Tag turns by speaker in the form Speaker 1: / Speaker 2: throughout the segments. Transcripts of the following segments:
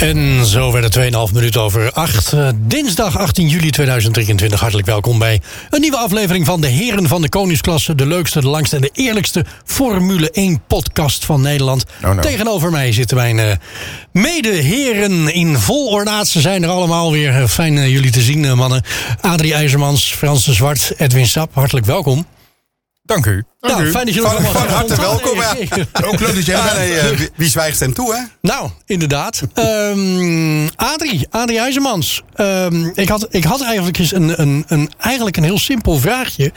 Speaker 1: En zo werd het 2,5 minuten over 8. dinsdag 18 juli 2023. Hartelijk welkom bij een nieuwe aflevering van de Heren van de Koningsklasse. De leukste, de langste en de eerlijkste Formule 1 podcast van Nederland.
Speaker 2: Oh, no.
Speaker 1: Tegenover mij zitten mijn eh, medeheren in vol ornaat. Ze zijn er allemaal weer. Eh, Fijn eh, jullie te zien, eh, mannen. Adrie IJzermans, Frans de Zwart, Edwin Sap. Hartelijk welkom.
Speaker 2: Dank u. Dank
Speaker 1: nou,
Speaker 2: u.
Speaker 1: fijn dat jullie
Speaker 2: Van-
Speaker 1: allemaal
Speaker 2: Van harte
Speaker 1: spontaan-
Speaker 2: welkom.
Speaker 1: Nee,
Speaker 2: hè.
Speaker 1: zeker.
Speaker 2: Ook leuk dat jij ja, nee, eh, wie- Wie zwijgt hem toe, hè?
Speaker 1: Nou, inderdaad. Ehm Adrie, Adrie IJzermans. Ehm, ik, had, ik had eigenlijk eens een, een, een, eigenlijk een heel simpel vraagje.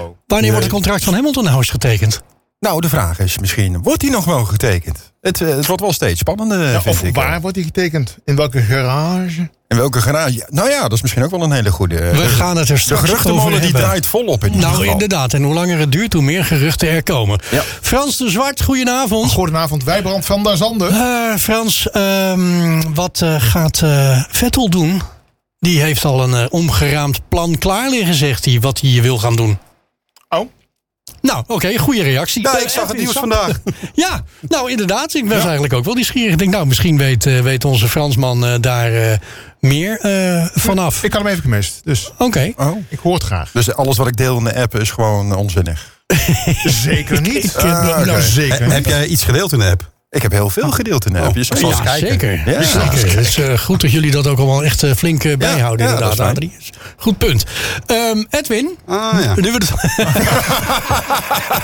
Speaker 2: oh.
Speaker 1: Wanneer wordt het contract van Hamilton nou eens getekend?
Speaker 2: Nou, de vraag is misschien, wordt hij nog wel getekend? Het, eh, het wordt wel steeds spannender,
Speaker 3: Ja,
Speaker 2: vind
Speaker 3: of
Speaker 2: ik. eh.
Speaker 3: waar wordt die getekend? In welke garage?
Speaker 2: In welke garage? Nou ja, dat is misschien ook wel een hele goede. eh,
Speaker 1: We gaan het er
Speaker 2: de
Speaker 1: straks over
Speaker 2: geruchtenmolen die
Speaker 1: hebben.
Speaker 2: draait volop in ieder
Speaker 1: Nou,
Speaker 2: geval.
Speaker 1: inderdaad. En hoe langer het duurt, hoe meer geruchten er komen.
Speaker 2: Ja.
Speaker 1: Frans de Zwart, goedenavond.
Speaker 3: Goedenavond, Wijbrand van der Zanden.
Speaker 1: Eh, Frans, ehm, wat eh, gaat eh, Vettel doen? Die heeft al een eh, omgeraamd plan klaar liggen, zegt hij, wat hij wil gaan doen.
Speaker 3: Oh.
Speaker 1: Nou, oké, goede reactie.
Speaker 2: Ja,
Speaker 1: Eh,
Speaker 2: Nou, ik zag het
Speaker 1: Edwin
Speaker 2: nieuws
Speaker 1: Sap.
Speaker 2: vandaag.
Speaker 1: Ja, nou inderdaad. Ik was eigenlijk ook wel nieuwsgierig. Ik denk, nou, misschien weet, eh, weet onze Fransman eh, daar eh, meer eh, vanaf.
Speaker 3: Ik had hem even gemist, dus
Speaker 1: Oké.
Speaker 2: Oh.
Speaker 3: ik hoor het graag.
Speaker 2: Dus alles wat ik deel in de app is gewoon onzinnig.
Speaker 3: Zeker niet.
Speaker 1: Ik, eh,
Speaker 2: Ah,
Speaker 1: nou,
Speaker 2: oké.
Speaker 3: zeker
Speaker 2: He-
Speaker 3: niet.
Speaker 2: Heb jij iets gedeeld in de app? Oh, Ik heb heel veel gedeeld in de app. Je zal eens
Speaker 1: Ja,
Speaker 2: kijken.
Speaker 1: zeker.
Speaker 2: Ja.
Speaker 1: zeker. Het is eh, goed dat jullie dat ook allemaal echt eh, flink eh, bijhouden,
Speaker 2: ja, dat
Speaker 1: inderdaad,
Speaker 2: is fijn.
Speaker 1: Adrie. Goed punt. Ehm, Edwin,
Speaker 4: Ah ja.
Speaker 1: nu we het,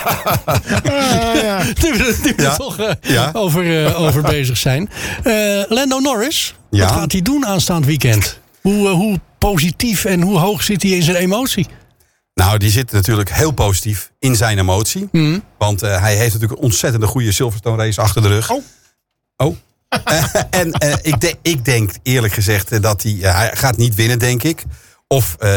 Speaker 3: Ah, ja.
Speaker 1: nu we het- nu we
Speaker 2: Ja.
Speaker 1: er toch eh,
Speaker 2: Ja.
Speaker 1: over, eh, over bezig zijn. Eh, Lando Norris,
Speaker 4: Ja.
Speaker 1: wat gaat hij doen aanstaand weekend? Hoe, eh, hoe positief en hoe hoog zit hij in zijn emotie?
Speaker 4: Nou, die zit natuurlijk heel positief in zijn emotie.
Speaker 3: Hmm.
Speaker 4: Want eh, hij heeft natuurlijk een ontzettende goede Silverstone race achter de rug.
Speaker 3: Oh.
Speaker 4: Oh. en eh, ik, de- ik denk eerlijk gezegd eh, dat hij... eh, hij gaat niet winnen, denk ik. Of eh,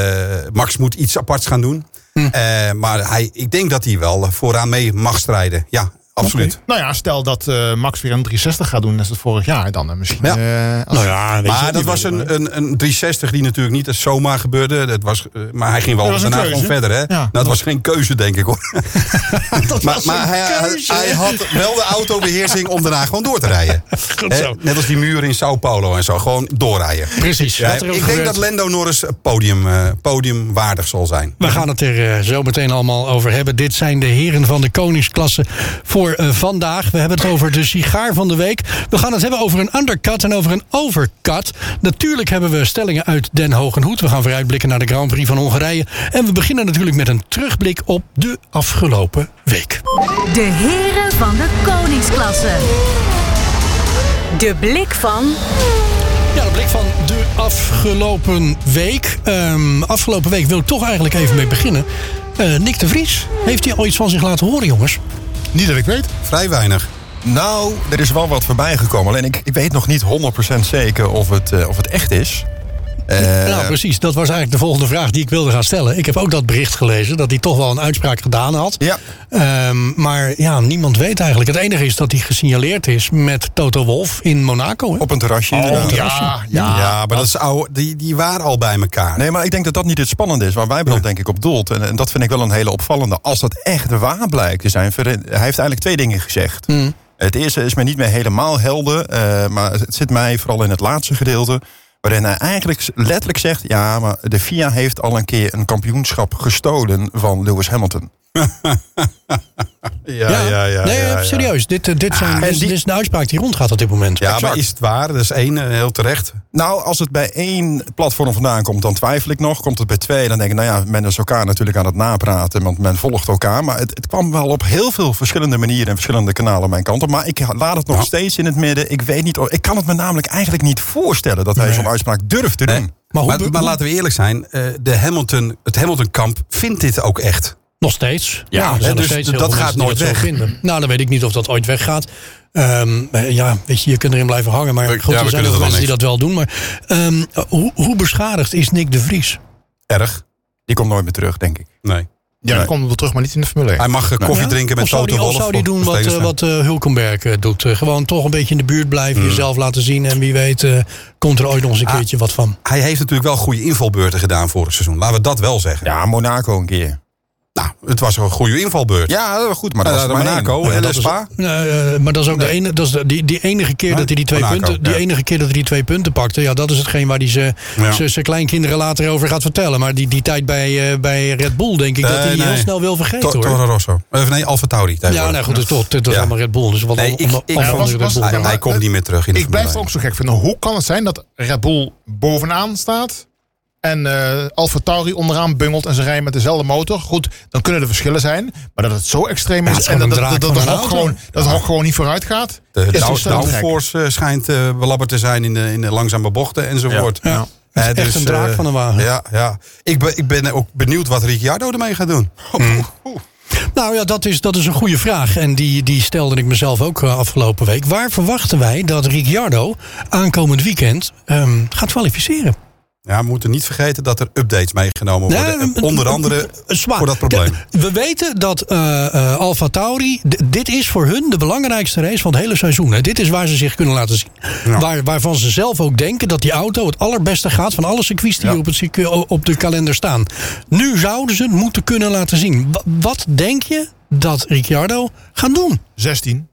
Speaker 4: Max moet iets aparts gaan doen.
Speaker 3: Hmm.
Speaker 4: Eh, maar hij, ik denk dat hij wel vooraan mee mag strijden. Ja, absoluut.
Speaker 3: Nou ja, stel dat eh, Max weer een 360 gaat doen, net als het vorig jaar dan. eh, Misschien.
Speaker 4: Ja.
Speaker 3: eh, als-
Speaker 1: ja,
Speaker 4: Maar dat was een, een, een 360 die natuurlijk niet zomaar gebeurde. Dat was, eh, maar hij ging wel
Speaker 3: Dat was een
Speaker 4: daarna gewoon
Speaker 3: keuze.
Speaker 4: verder. Hè?
Speaker 3: Ja.
Speaker 4: Nou, dat was geen keuze, denk ik hoor.
Speaker 1: dat
Speaker 4: Maar,
Speaker 1: was
Speaker 4: maar
Speaker 1: een
Speaker 4: hij, hij-
Speaker 1: keuze.
Speaker 4: hij had wel de autobeheersing om daarna gewoon door te rijden.
Speaker 1: Goed
Speaker 4: Hè,
Speaker 1: zo.
Speaker 4: net als die muren in Sao Paulo en zo. Gewoon doorrijden.
Speaker 1: Precies.
Speaker 4: Ja,
Speaker 1: wat
Speaker 4: ik
Speaker 1: er ook
Speaker 4: denk
Speaker 1: gebeurt.
Speaker 4: dat Lando Norris podium, eh, podiumwaardig zal zijn.
Speaker 1: We gaan het er eh, zo meteen allemaal over hebben. Dit zijn de heren van de koningsklasse voor eh, vandaag. We hebben het over de sigaar van de week. We gaan het hebben over een undercut en over een overcut. Natuurlijk hebben we stellingen uit Den Hogenhoed. We gaan vooruitblikken naar de Grand Prix van Hongarije. En we beginnen natuurlijk met een terugblik op de afgelopen week.
Speaker 5: De heren van de koningsklasse. De blik van
Speaker 1: Ja, de blik van de afgelopen week. Ehm, afgelopen week wil ik toch eigenlijk even mee beginnen. Eh, Nick de Vries, heeft hij al iets van zich laten horen, jongens?
Speaker 3: Niet dat ik weet.
Speaker 4: Vrij weinig.
Speaker 2: Nou, er is wel wat voorbij gekomen. Alleen ik, ik weet nog niet 100% zeker of het, eh, of het echt is.
Speaker 4: Eh,
Speaker 1: Nou, precies. Dat was eigenlijk de volgende vraag die ik wilde gaan stellen. Ik heb ook dat bericht gelezen dat hij toch wel een uitspraak gedaan had.
Speaker 2: Ja.
Speaker 1: Ehm, maar ja, niemand weet eigenlijk. Het enige is dat hij gesignaleerd is met Toto Wolf in Monaco. hè?
Speaker 2: Op een terrasje
Speaker 3: Oh, ja,
Speaker 2: inderdaad.
Speaker 3: ja.
Speaker 4: Ja, maar dat is oude, die, die waren al bij elkaar.
Speaker 2: Nee, maar ik denk dat dat niet het spannende is waar Wijbrand denk ik op doelt. En, en dat vind ik wel een hele opvallende. Als dat echt waar blijkt te zijn, ver- hij heeft eigenlijk twee dingen gezegd. Het eerste is mij niet meer helemaal helder, eh, maar het zit mij vooral in het laatste gedeelte. Waarin hij eigenlijk s- letterlijk zegt, ja, maar de FIA heeft al een keer een kampioenschap gestolen van Lewis Hamilton.
Speaker 4: Ja, ja, ja. ja,
Speaker 1: nee,
Speaker 4: ja, ja.
Speaker 1: serieus. Dit, eh, dit, zijn,
Speaker 2: en
Speaker 1: dit, is-
Speaker 2: die-
Speaker 1: dit is een uitspraak die rondgaat op dit moment.
Speaker 4: Ja,
Speaker 2: Exact.
Speaker 4: maar is het waar? Dat is één, eh, heel terecht.
Speaker 2: Nou, als het bij één platform vandaan komt, dan twijfel ik nog. Komt het bij twee, dan denk ik, nou ja, men is elkaar natuurlijk aan het napraten. Want men volgt elkaar. Maar het, het kwam wel op heel veel verschillende manieren en verschillende kanalen mijn kant op. Maar ik laat het nog
Speaker 4: Ja.
Speaker 2: steeds in het midden. Ik weet niet, of- ik kan het me namelijk eigenlijk niet voorstellen dat hij zo'n uitspraak durft te doen.
Speaker 1: Maar,
Speaker 4: Maar,
Speaker 1: hoe,
Speaker 4: maar,
Speaker 1: hoe-
Speaker 4: laten we eerlijk zijn, eh, de Hamilton, het Hamilton-kamp vindt dit ook echt.
Speaker 1: nog steeds.
Speaker 4: Ja,
Speaker 1: er zijn
Speaker 4: hè,
Speaker 1: nog
Speaker 4: dus
Speaker 1: steeds heel
Speaker 4: dat
Speaker 1: veel
Speaker 4: gaat
Speaker 1: mensen die
Speaker 4: nooit
Speaker 1: zo
Speaker 4: weg.
Speaker 1: vinden. Nou, dan weet ik niet of dat ooit weggaat. Ehm, eh, ja, weet je, je kunt erin blijven hangen. Maar
Speaker 4: We-
Speaker 1: goed,
Speaker 4: ja,
Speaker 1: er
Speaker 4: we
Speaker 1: zijn
Speaker 4: kunnen
Speaker 1: ook
Speaker 4: er
Speaker 1: mensen
Speaker 4: wel
Speaker 1: die dat wel doen. Maar ehm, hoe, hoe beschadigd is Nick de Vries?
Speaker 4: Erg.
Speaker 2: Die komt nooit meer terug, denk ik.
Speaker 4: Nee.
Speaker 3: Ja, die komt wel terug, maar niet in de Formule 1.
Speaker 4: Hij mag eh, koffie drinken met
Speaker 1: of zou
Speaker 4: Toto
Speaker 1: die,
Speaker 4: Wolff.
Speaker 1: of zou die
Speaker 4: op-
Speaker 1: doen
Speaker 4: op
Speaker 1: wat, eh,
Speaker 4: Stegenstein.
Speaker 1: wat eh, Hulkenberg eh, doet? Eh, gewoon toch een beetje in de buurt blijven, jezelf laten zien. En wie weet eh, komt er ooit nog eens een
Speaker 4: Mm. Ah.
Speaker 1: keertje wat van.
Speaker 4: Hij heeft natuurlijk wel goede invalbeurten gedaan vorig seizoen. Laten we dat wel zeggen.
Speaker 2: Ja, Monaco een keer.
Speaker 4: Nou, het was een goede invalbeurt.
Speaker 2: Ja, goed, maar dat
Speaker 4: Ja,
Speaker 2: was
Speaker 1: eh,
Speaker 4: de
Speaker 2: er maar één.
Speaker 4: Monaco en
Speaker 1: dat
Speaker 4: de
Speaker 1: is-
Speaker 4: Spa.
Speaker 1: Nee, eh, maar dat is ook de ene, dat is de- die, die enige keer
Speaker 4: Ja,
Speaker 1: dat hij die twee,
Speaker 4: Monaco,
Speaker 1: punten, die
Speaker 4: ja.
Speaker 1: enige keer dat hij die twee punten pakte. Ja, dat is hetgeen waar hij ze-
Speaker 4: Ja.
Speaker 1: ze- zijn kleinkinderen later over gaat vertellen. Maar die, die tijd bij, eh, bij Red Bull, denk ik, dat
Speaker 4: Eh,
Speaker 1: hij die
Speaker 4: nee.
Speaker 1: heel snel wil vergeten
Speaker 4: To-
Speaker 1: hoor.
Speaker 4: Toro Rosso. Of nee, Alfa Tauri.
Speaker 1: ja, nou goed, het is toch, het was
Speaker 4: Ja.
Speaker 1: allemaal Red Bull. Dus wat
Speaker 4: Nee,
Speaker 1: al-
Speaker 4: ik-
Speaker 1: al-
Speaker 4: ik-
Speaker 1: al-
Speaker 4: Ja,
Speaker 1: van
Speaker 3: was-
Speaker 1: de Red
Speaker 3: was-
Speaker 1: Bull.
Speaker 3: hij-
Speaker 4: Hij,
Speaker 1: kwam.
Speaker 4: hij komt niet meer terug in de
Speaker 3: Ik blijf het
Speaker 4: Formule
Speaker 3: ook zo gek vinden. Hoe kan het zijn dat Red Bull bovenaan staat en eh Alfa Tauri onderaan bungelt en ze rijden met dezelfde motor? Goed, dan kunnen er verschillen zijn, maar dat het zo extreem
Speaker 1: het
Speaker 3: is
Speaker 1: is
Speaker 3: en dat,
Speaker 1: gewoon een
Speaker 3: dat, dat,
Speaker 1: draak
Speaker 3: dat, het
Speaker 1: van een
Speaker 3: hok
Speaker 1: auto.
Speaker 3: gewoon, dat het hok gewoon niet vooruit gaat,
Speaker 4: De
Speaker 3: is dus
Speaker 4: down-
Speaker 3: ontzettend gek.
Speaker 4: downforce eh, schijnt eh, belabberd te zijn in de, in de langzame bochten enzovoort.
Speaker 1: Ja. Het is
Speaker 4: Eh,
Speaker 1: echt een draak
Speaker 4: eh,
Speaker 1: van een wagen.
Speaker 4: Ja, ja. Ik, ben, ik ben ook benieuwd wat Ricciardo ermee gaat doen.
Speaker 1: Oh,
Speaker 4: Mm.
Speaker 1: Nou ja, dat is, dat is een goede vraag. En die, die stelde ik mezelf ook eh, afgelopen week. Waar verwachten wij dat Ricciardo aankomend weekend ehm, gaat kwalificeren?
Speaker 4: Ja, we moeten niet vergeten dat er updates meegenomen worden.
Speaker 1: Nou,
Speaker 4: En onder andere
Speaker 1: zwaar.
Speaker 4: voor dat probleem.
Speaker 1: De- we weten dat eh eh, Alfa Tauri, d- dit is voor hun de belangrijkste race van het hele seizoen. Hè. Dit is waar ze zich kunnen laten zien. Waar, waarvan ze zelf ook denken dat die auto het allerbeste gaat van alle circuits die op, het, circuit- op de kalender staan. Nu zouden ze het moeten kunnen laten zien. Wa- wat denk je dat Ricciardo gaat doen?
Speaker 3: 16.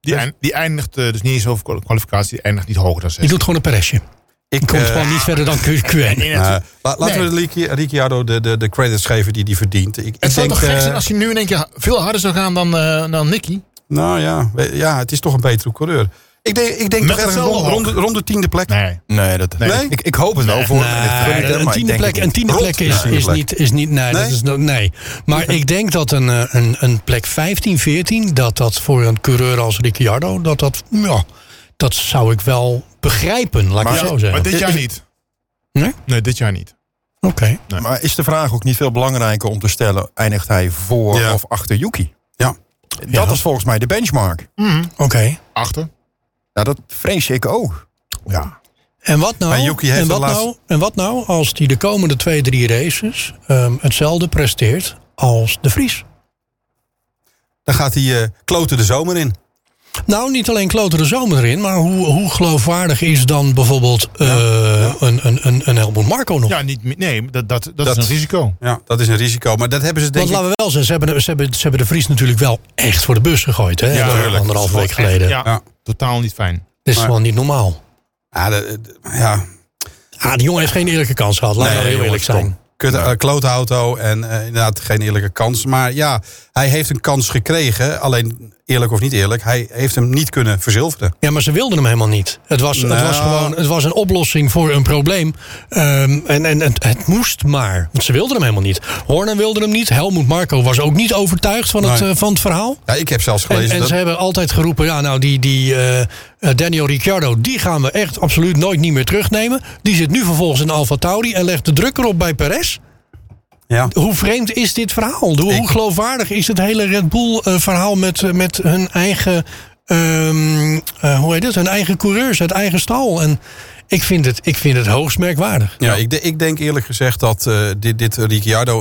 Speaker 3: Die, eind- die eindigt eh, dus niet eens over kwalificatie, die eindigt niet hoger dan
Speaker 1: Die
Speaker 3: 16.
Speaker 1: doet gewoon een peresje.
Speaker 4: Ik,
Speaker 1: Die komt
Speaker 4: eh,
Speaker 1: gewoon niet verder dan Q-
Speaker 3: En
Speaker 1: Q1.
Speaker 3: in
Speaker 4: eh,
Speaker 3: het-
Speaker 4: la- laten we Ric- Ricciardo de, de, de credits geven die hij verdient. Ik, ik
Speaker 3: het zou
Speaker 4: denk,
Speaker 3: toch gek
Speaker 4: eh,
Speaker 3: zijn als je nu in één keer veel harder zou gaan dan, eh, dan Nicky?
Speaker 4: Nou ja, we- ja, het is toch een betere coureur. Ik denk, ik denk
Speaker 3: Met
Speaker 4: toch ergens
Speaker 3: hetzelfde
Speaker 4: rond,
Speaker 3: hok.
Speaker 4: rond, de- rond de tiende plek.
Speaker 3: Nee.
Speaker 2: Nee, dat,
Speaker 4: Nee?
Speaker 2: Ik, ik hoop het wel voor hem.
Speaker 4: Ah,
Speaker 2: Ik gun het hem,
Speaker 1: Nee,
Speaker 2: maar
Speaker 1: een
Speaker 2: ik
Speaker 1: tiende
Speaker 2: denk
Speaker 1: plek,
Speaker 2: het
Speaker 1: een
Speaker 2: niet.
Speaker 1: tiende
Speaker 4: Rond
Speaker 1: plek
Speaker 4: naar
Speaker 1: is,
Speaker 4: tiende
Speaker 1: is
Speaker 4: plek.
Speaker 1: niet. Is niet nee, Dat
Speaker 4: Nee?
Speaker 1: is, no- nee, maar ik denk dat een, eh, een, een plek 15, 14, dat dat voor een coureur als Ricciardo, dat dat, ja, dat zou ik wel begrijpen, laat ik
Speaker 2: Maar-
Speaker 1: het zo
Speaker 3: Ja, maar
Speaker 1: zeggen.
Speaker 3: dit jaar niet.
Speaker 1: Nee?
Speaker 3: Nee, dit jaar niet.
Speaker 1: Oké.
Speaker 2: Maar is de vraag ook niet veel belangrijker om te stellen... eindigt hij voor
Speaker 4: Ja.
Speaker 2: of achter Yuki?
Speaker 4: Ja.
Speaker 2: Dat is volgens mij de benchmark.
Speaker 1: Oké.
Speaker 3: Achter.
Speaker 2: Nou, dat vrees ik ook.
Speaker 3: Ja.
Speaker 1: En wat nou?
Speaker 4: Maar Yuki heeft
Speaker 1: en, wat
Speaker 4: de laatste-
Speaker 1: nou en wat nou als hij de komende twee, drie races ehm, hetzelfde presteert als de Vries?
Speaker 4: Dan gaat hij eh, kloten de zomer in.
Speaker 1: Nou, niet alleen kloten de zomer erin, maar hoe, hoe geloofwaardig is dan bijvoorbeeld eh, Een, een, een, een Helmut Marco nog?
Speaker 3: Ja, niet, mi- nee, dat, dat, dat,
Speaker 4: Dat-
Speaker 3: is een risico.
Speaker 4: Ja, dat is een risico. Maar dat hebben ze denk
Speaker 1: Want
Speaker 4: ik...
Speaker 1: laten we wel zijn, ze hebben, ze, hebben, ze hebben de Vries natuurlijk wel echt voor de bus gegooid. Hè?
Speaker 4: Ja,
Speaker 1: Een
Speaker 4: tuurlijk.
Speaker 1: Anderhalve
Speaker 4: Dat
Speaker 1: week geleden.
Speaker 3: Ja,
Speaker 4: Ja.
Speaker 3: totaal niet fijn.
Speaker 1: Dat is
Speaker 4: Maar-
Speaker 1: gewoon niet normaal.
Speaker 4: Ja, de- de- ja.
Speaker 1: Ah, die jongen heeft geen eerlijke kans gehad. Laten we
Speaker 4: Nee,
Speaker 1: heel eerlijk
Speaker 4: jongens,
Speaker 1: zijn.
Speaker 4: Tom. Kut, eh, klote auto en eh, inderdaad geen eerlijke kans. Maar ja, hij heeft een kans gekregen. Alleen eerlijk of niet eerlijk, hij heeft hem niet kunnen verzilveren.
Speaker 1: Ja, maar ze wilden hem helemaal niet. Het was, het
Speaker 4: Nou.
Speaker 1: was gewoon het was een oplossing voor een probleem. Ehm, en en het, het moest maar. Want ze wilden hem helemaal niet. Horner wilde hem niet. Helmut Marco was ook niet overtuigd van het,
Speaker 4: Nee.
Speaker 1: eh, van het verhaal.
Speaker 4: Ja, ik heb zelfs
Speaker 1: En,
Speaker 4: gelezen
Speaker 1: en
Speaker 4: dat...
Speaker 1: ze hebben altijd geroepen, ja, nou, die, die eh, eh, Daniel Ricciardo, die gaan we echt absoluut nooit niet meer terugnemen. Die zit nu vervolgens in Alfa Tauri en legt de druk erop bij Perez.
Speaker 4: Ja.
Speaker 1: Hoe vreemd is dit verhaal? Hoe, hoe
Speaker 4: Ik-
Speaker 1: geloofwaardig is het hele Red Bull eh, verhaal met, eh, met hun eigen, ehm, eh, hoe heet het, hun eigen coureurs, het eigen stal? En ik vind het, ik vind het hoogst merkwaardig.
Speaker 4: Ja, ik, de- ik denk eerlijk gezegd dat eh, dit, dit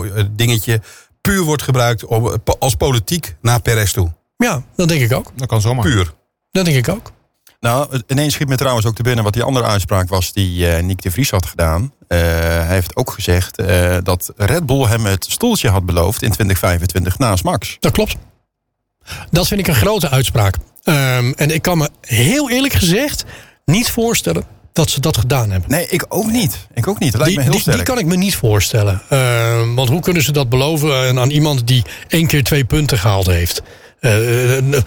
Speaker 4: Ricciardo-dingetje puur wordt gebruikt om, eh, als politiek naar Perez toe.
Speaker 1: Ja, dat denk ik ook.
Speaker 3: Dat kan zomaar.
Speaker 4: Puur.
Speaker 1: Dat denk ik ook.
Speaker 2: Nou, ineens schiet me trouwens ook te binnen wat die andere uitspraak was... die eh Nick de Vries had gedaan. Eh, hij heeft ook gezegd eh, dat Red Bull hem het stoeltje had beloofd... in 2025 naast Max.
Speaker 1: Dat klopt. Dat vind ik een grote uitspraak. Ehm, en ik kan me heel eerlijk gezegd niet voorstellen dat ze dat gedaan hebben.
Speaker 2: Nee, ik ook niet. Ik ook niet. Dat lijkt
Speaker 1: Die,
Speaker 2: me heel
Speaker 1: die, die
Speaker 2: sterk.
Speaker 1: kan ik me niet voorstellen. Eh, want hoe kunnen ze dat beloven eh, aan- aan iemand die één keer twee punten gehaald heeft? Eh, eh,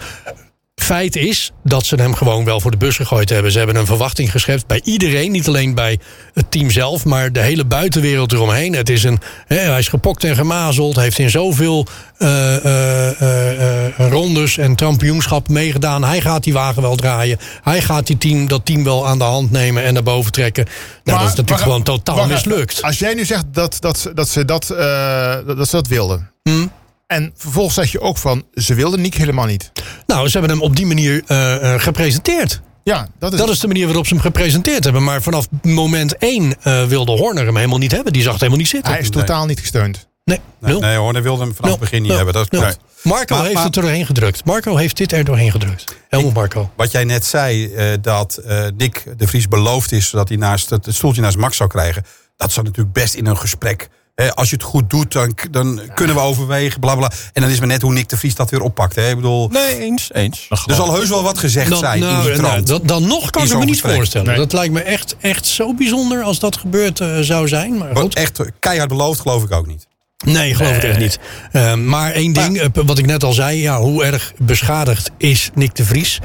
Speaker 1: feit is dat ze hem gewoon wel voor de bus gegooid hebben. Ze hebben een verwachting geschept bij iedereen. Niet alleen bij het team zelf, maar de hele buitenwereld eromheen. Het is een, hè, hij is gepokt en gemazeld. Heeft in zoveel eh, eh, eh, eh, rondes en kampioenschap meegedaan. Hij gaat die wagen wel draaien. Hij gaat die team, dat team wel aan de hand nemen en naar boven trekken. Nou, dat is natuurlijk
Speaker 3: maar-
Speaker 1: gewoon totaal
Speaker 3: maar-
Speaker 1: mislukt.
Speaker 3: Als jij nu zegt dat, dat, ze- dat, ze, dat, eh, dat, dat ze dat wilden.
Speaker 1: Hmm?
Speaker 3: En vervolgens zeg je ook van, ze wilden Nick helemaal niet.
Speaker 1: Nou, ze hebben hem op die manier eh, eh, gepresenteerd.
Speaker 3: Ja, dat is...
Speaker 1: Dat is de manier waarop ze hem gepresenteerd hebben. Maar vanaf moment één eh, wilde Horner hem helemaal niet hebben. Die zag het helemaal niet zitten.
Speaker 3: hij is
Speaker 4: Nee.
Speaker 3: totaal niet gesteund.
Speaker 1: nee, nul.
Speaker 4: Nee hoor, dat wilde hem vanaf
Speaker 1: Nul.
Speaker 4: het begin niet
Speaker 1: Nul.
Speaker 4: hebben. Dat
Speaker 1: Nul.
Speaker 4: klopt.
Speaker 1: Marco
Speaker 4: Maar-
Speaker 1: heeft
Speaker 4: maar-
Speaker 1: het er doorheen gedrukt. Marco heeft dit er doorheen gedrukt. Helemaal Marco.
Speaker 4: Wat jij net zei, eh, dat eh, Nick de Vries beloofd is dat hij naast het, het stoeltje naast Max zou krijgen. Dat zou natuurlijk best in een gesprek. Hè, als je het goed doet, dan, k- dan kunnen we overwegen, bla bla. En dan is maar net hoe Nick de Vries dat weer oppakt. Hè. Ik bedoel,
Speaker 2: Nee, eens. Eens.
Speaker 4: er zal heus wel wat gezegd zijn
Speaker 1: nou,
Speaker 4: in die
Speaker 1: nou,
Speaker 4: trant.
Speaker 1: dat- dan nog kan
Speaker 4: In
Speaker 1: ik het me
Speaker 4: zo'n
Speaker 1: niet
Speaker 4: gesprek.
Speaker 1: voorstellen.
Speaker 3: Nee.
Speaker 1: Dat lijkt me echt, echt zo bijzonder als dat gebeurd eh, zou zijn. Maar
Speaker 4: Wat
Speaker 1: goed.
Speaker 4: echt eh, keihard beloofd, geloof ik ook niet.
Speaker 1: Nee, geloof ik echt niet. Eh, maar één ding, eh, wat ik net al zei, ja, hoe erg beschadigd is Nick de Vries?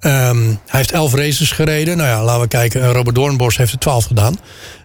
Speaker 1: Ehm, hij heeft elf races gereden. Nou ja, laten we kijken. eh, Robert Doornbos heeft er twaalf gedaan.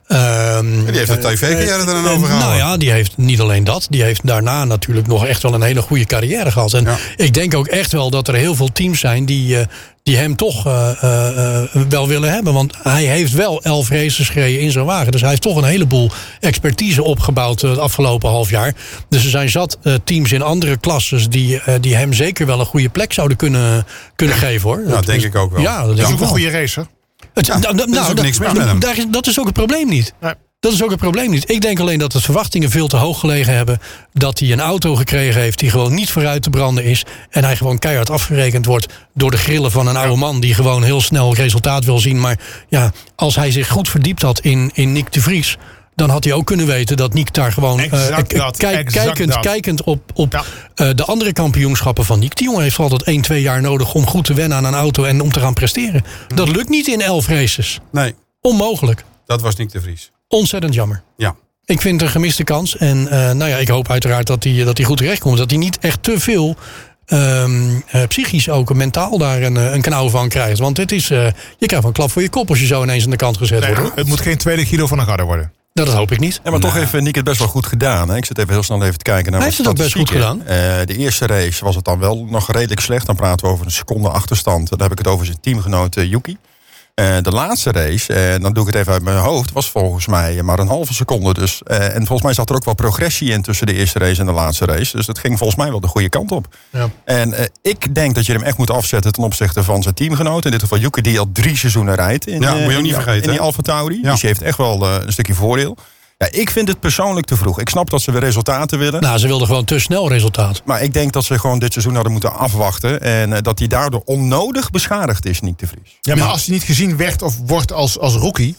Speaker 1: Ehm,
Speaker 4: Die heeft de TV-carrière er aan
Speaker 1: eh,
Speaker 4: overgehouden.
Speaker 1: Nou ja, die heeft niet alleen dat. Die heeft daarna natuurlijk nog echt wel een hele goede carrière gehad. En
Speaker 4: Ja.
Speaker 1: ik denk ook echt wel dat er heel veel teams zijn die, eh, die hem toch eh, eh, eh, wel willen hebben. Want hij heeft wel elf races gereden in zijn wagen. Dus hij heeft toch een heleboel expertise opgebouwd eh, het afgelopen half jaar. Dus er zijn zat eh, teams in andere klasses die, eh, die hem zeker wel een goede plek zouden kunnen, kunnen geven hoor. Dus
Speaker 4: dat denk ik ook wel.
Speaker 1: Ja, dat
Speaker 4: Ja.
Speaker 1: denk
Speaker 3: Zoek
Speaker 1: ik
Speaker 3: een
Speaker 1: wel.
Speaker 3: goede racer.
Speaker 1: Het,
Speaker 4: Ja,
Speaker 1: nou,
Speaker 4: er is
Speaker 1: nou,
Speaker 4: ook
Speaker 1: dat-
Speaker 4: niks mis
Speaker 1: nou,
Speaker 4: met hem.
Speaker 1: daar is- dat is ook het probleem niet.
Speaker 3: Nee.
Speaker 1: Dat is ook het probleem niet. Ik denk alleen dat de verwachtingen veel te hoog gelegen hebben. Dat hij een auto gekregen heeft die gewoon niet vooruit te branden is. En hij gewoon keihard afgerekend wordt door de grillen van een oude man. Die gewoon heel snel resultaat wil zien. Maar ja, als hij zich goed verdiept had in, in Nick de Vries. Dan had hij ook kunnen weten dat Nick daar gewoon eh,
Speaker 3: Exact
Speaker 1: eh,
Speaker 3: dat,
Speaker 1: kijk-
Speaker 3: exact
Speaker 1: kijkend,
Speaker 3: dat.
Speaker 1: kijkend op, op
Speaker 3: Ja.
Speaker 1: eh, de andere kampioenschappen van Nick. Die jongen heeft altijd 1, 2 jaar nodig om goed te wennen aan een auto en om te gaan presteren. Dat
Speaker 3: Mhm.
Speaker 1: lukt niet in 11 races.
Speaker 4: Nee,
Speaker 1: Onmogelijk.
Speaker 4: dat was Nick de Vries.
Speaker 1: Ontzettend jammer.
Speaker 4: Ja.
Speaker 1: Ik vind het een gemiste kans. En eh, nou ja, ik hoop uiteraard dat hij dat hij goed terechtkomt. Dat hij niet echt te veel ehm, eh, psychisch ook en mentaal daar een, eh, een knauw van krijgt. Want dit is, eh, je krijgt een klap voor je kop als je zo ineens aan de kant gezet
Speaker 3: Nee, eh,
Speaker 1: wordt. hoor.
Speaker 3: het moet geen tweede Guido van der Garde worden.
Speaker 1: Nou, dat hoop ik niet.
Speaker 2: Ja, maar toch heeft eh, Nick het best wel goed gedaan. Hè? Ik zit even heel snel even te kijken naar
Speaker 1: Hij
Speaker 2: wat
Speaker 1: heeft het ook best goed
Speaker 2: statistieken. Eh, de eerste race was het dan wel nog redelijk slecht. Dan praten we over een seconde achterstand. Dan heb ik het over zijn teamgenoot eh, Yuki. Eh, de laatste race, en dan doe ik het even uit mijn hoofd, was volgens mij eh, maar een halve seconde. Dus, eh, en volgens mij zat er ook wel progressie in tussen de eerste race en de laatste race. Dus dat ging volgens mij wel de goede kant op.
Speaker 1: Ja.
Speaker 2: En eh, ik denk dat je hem echt moet afzetten ten opzichte van zijn teamgenoot. In dit geval Yuki, die al drie seizoenen rijdt. In,
Speaker 4: Ja,
Speaker 2: eh,
Speaker 4: moet je ook
Speaker 2: in
Speaker 4: niet
Speaker 2: die-
Speaker 4: vergeten,
Speaker 2: In die
Speaker 4: hè?
Speaker 2: Alfa Tauri.
Speaker 4: Ja.
Speaker 2: Dus je heeft echt wel eh, een stukje voordeel. Ja, ik vind het persoonlijk te vroeg. Ik snap dat ze weer resultaten willen.
Speaker 1: Nou, ze wilden gewoon te snel resultaat.
Speaker 2: Maar ik denk dat ze gewoon dit seizoen hadden moeten afwachten. En eh, dat hij daardoor onnodig beschadigd is, Nick de Vries.
Speaker 3: Ja, maar als hij niet gezien werd of wordt als, als rookie...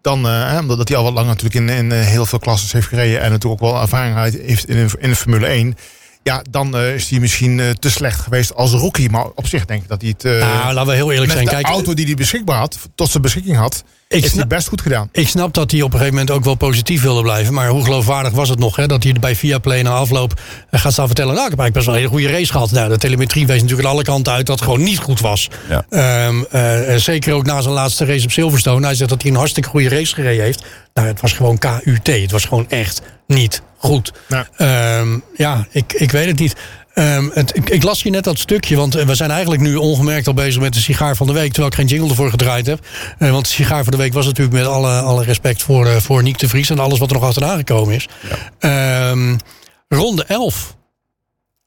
Speaker 3: Dan, eh, hè, omdat hij al wat lang natuurlijk in, in eh, heel veel klasses heeft gereden... en natuurlijk ook wel ervaring heeft in, in de Formule 1... Ja, dan eh, is hij misschien eh, te slecht geweest als rookie. Maar op zich denk ik dat hij het... eh,
Speaker 1: nou, laten we heel eerlijk
Speaker 3: met
Speaker 1: zijn.
Speaker 3: de
Speaker 1: Kijk,
Speaker 3: auto die hij beschikbaar had, tot zijn beschikking had...
Speaker 1: ik,
Speaker 3: heeft hij
Speaker 1: snap,
Speaker 3: best goed gedaan.
Speaker 1: ik snap dat hij op een gegeven moment ook wel positief wilde blijven. Maar hoe geloofwaardig was het nog hè, dat hij bij Viaplay na afloop eh, gaat staan vertellen... nou, ik heb eigenlijk best wel een hele goede race gehad. Nou, de telemetrie wees natuurlijk aan alle kanten uit dat het gewoon niet goed was.
Speaker 2: Ja.
Speaker 1: Ehm, eh, eh, zeker ook na zijn laatste race op Silverstone. Hij zegt dat hij een hartstikke goede race gereden heeft. Nou, het was gewoon KUT. Het was gewoon echt niet goed.
Speaker 3: Ja.
Speaker 1: Ehm, ja, ik, ik weet het niet. Ehm, het, ik, ik las je net dat stukje, want eh, we zijn eigenlijk nu ongemerkt al bezig met de sigaar van de week. Terwijl ik geen jingle ervoor gedraaid heb. Eh, want de sigaar van de week was natuurlijk met alle, alle respect voor, eh, voor Niek de Vries en alles wat er nog achteraan gekomen is. Ehm, ronde 11.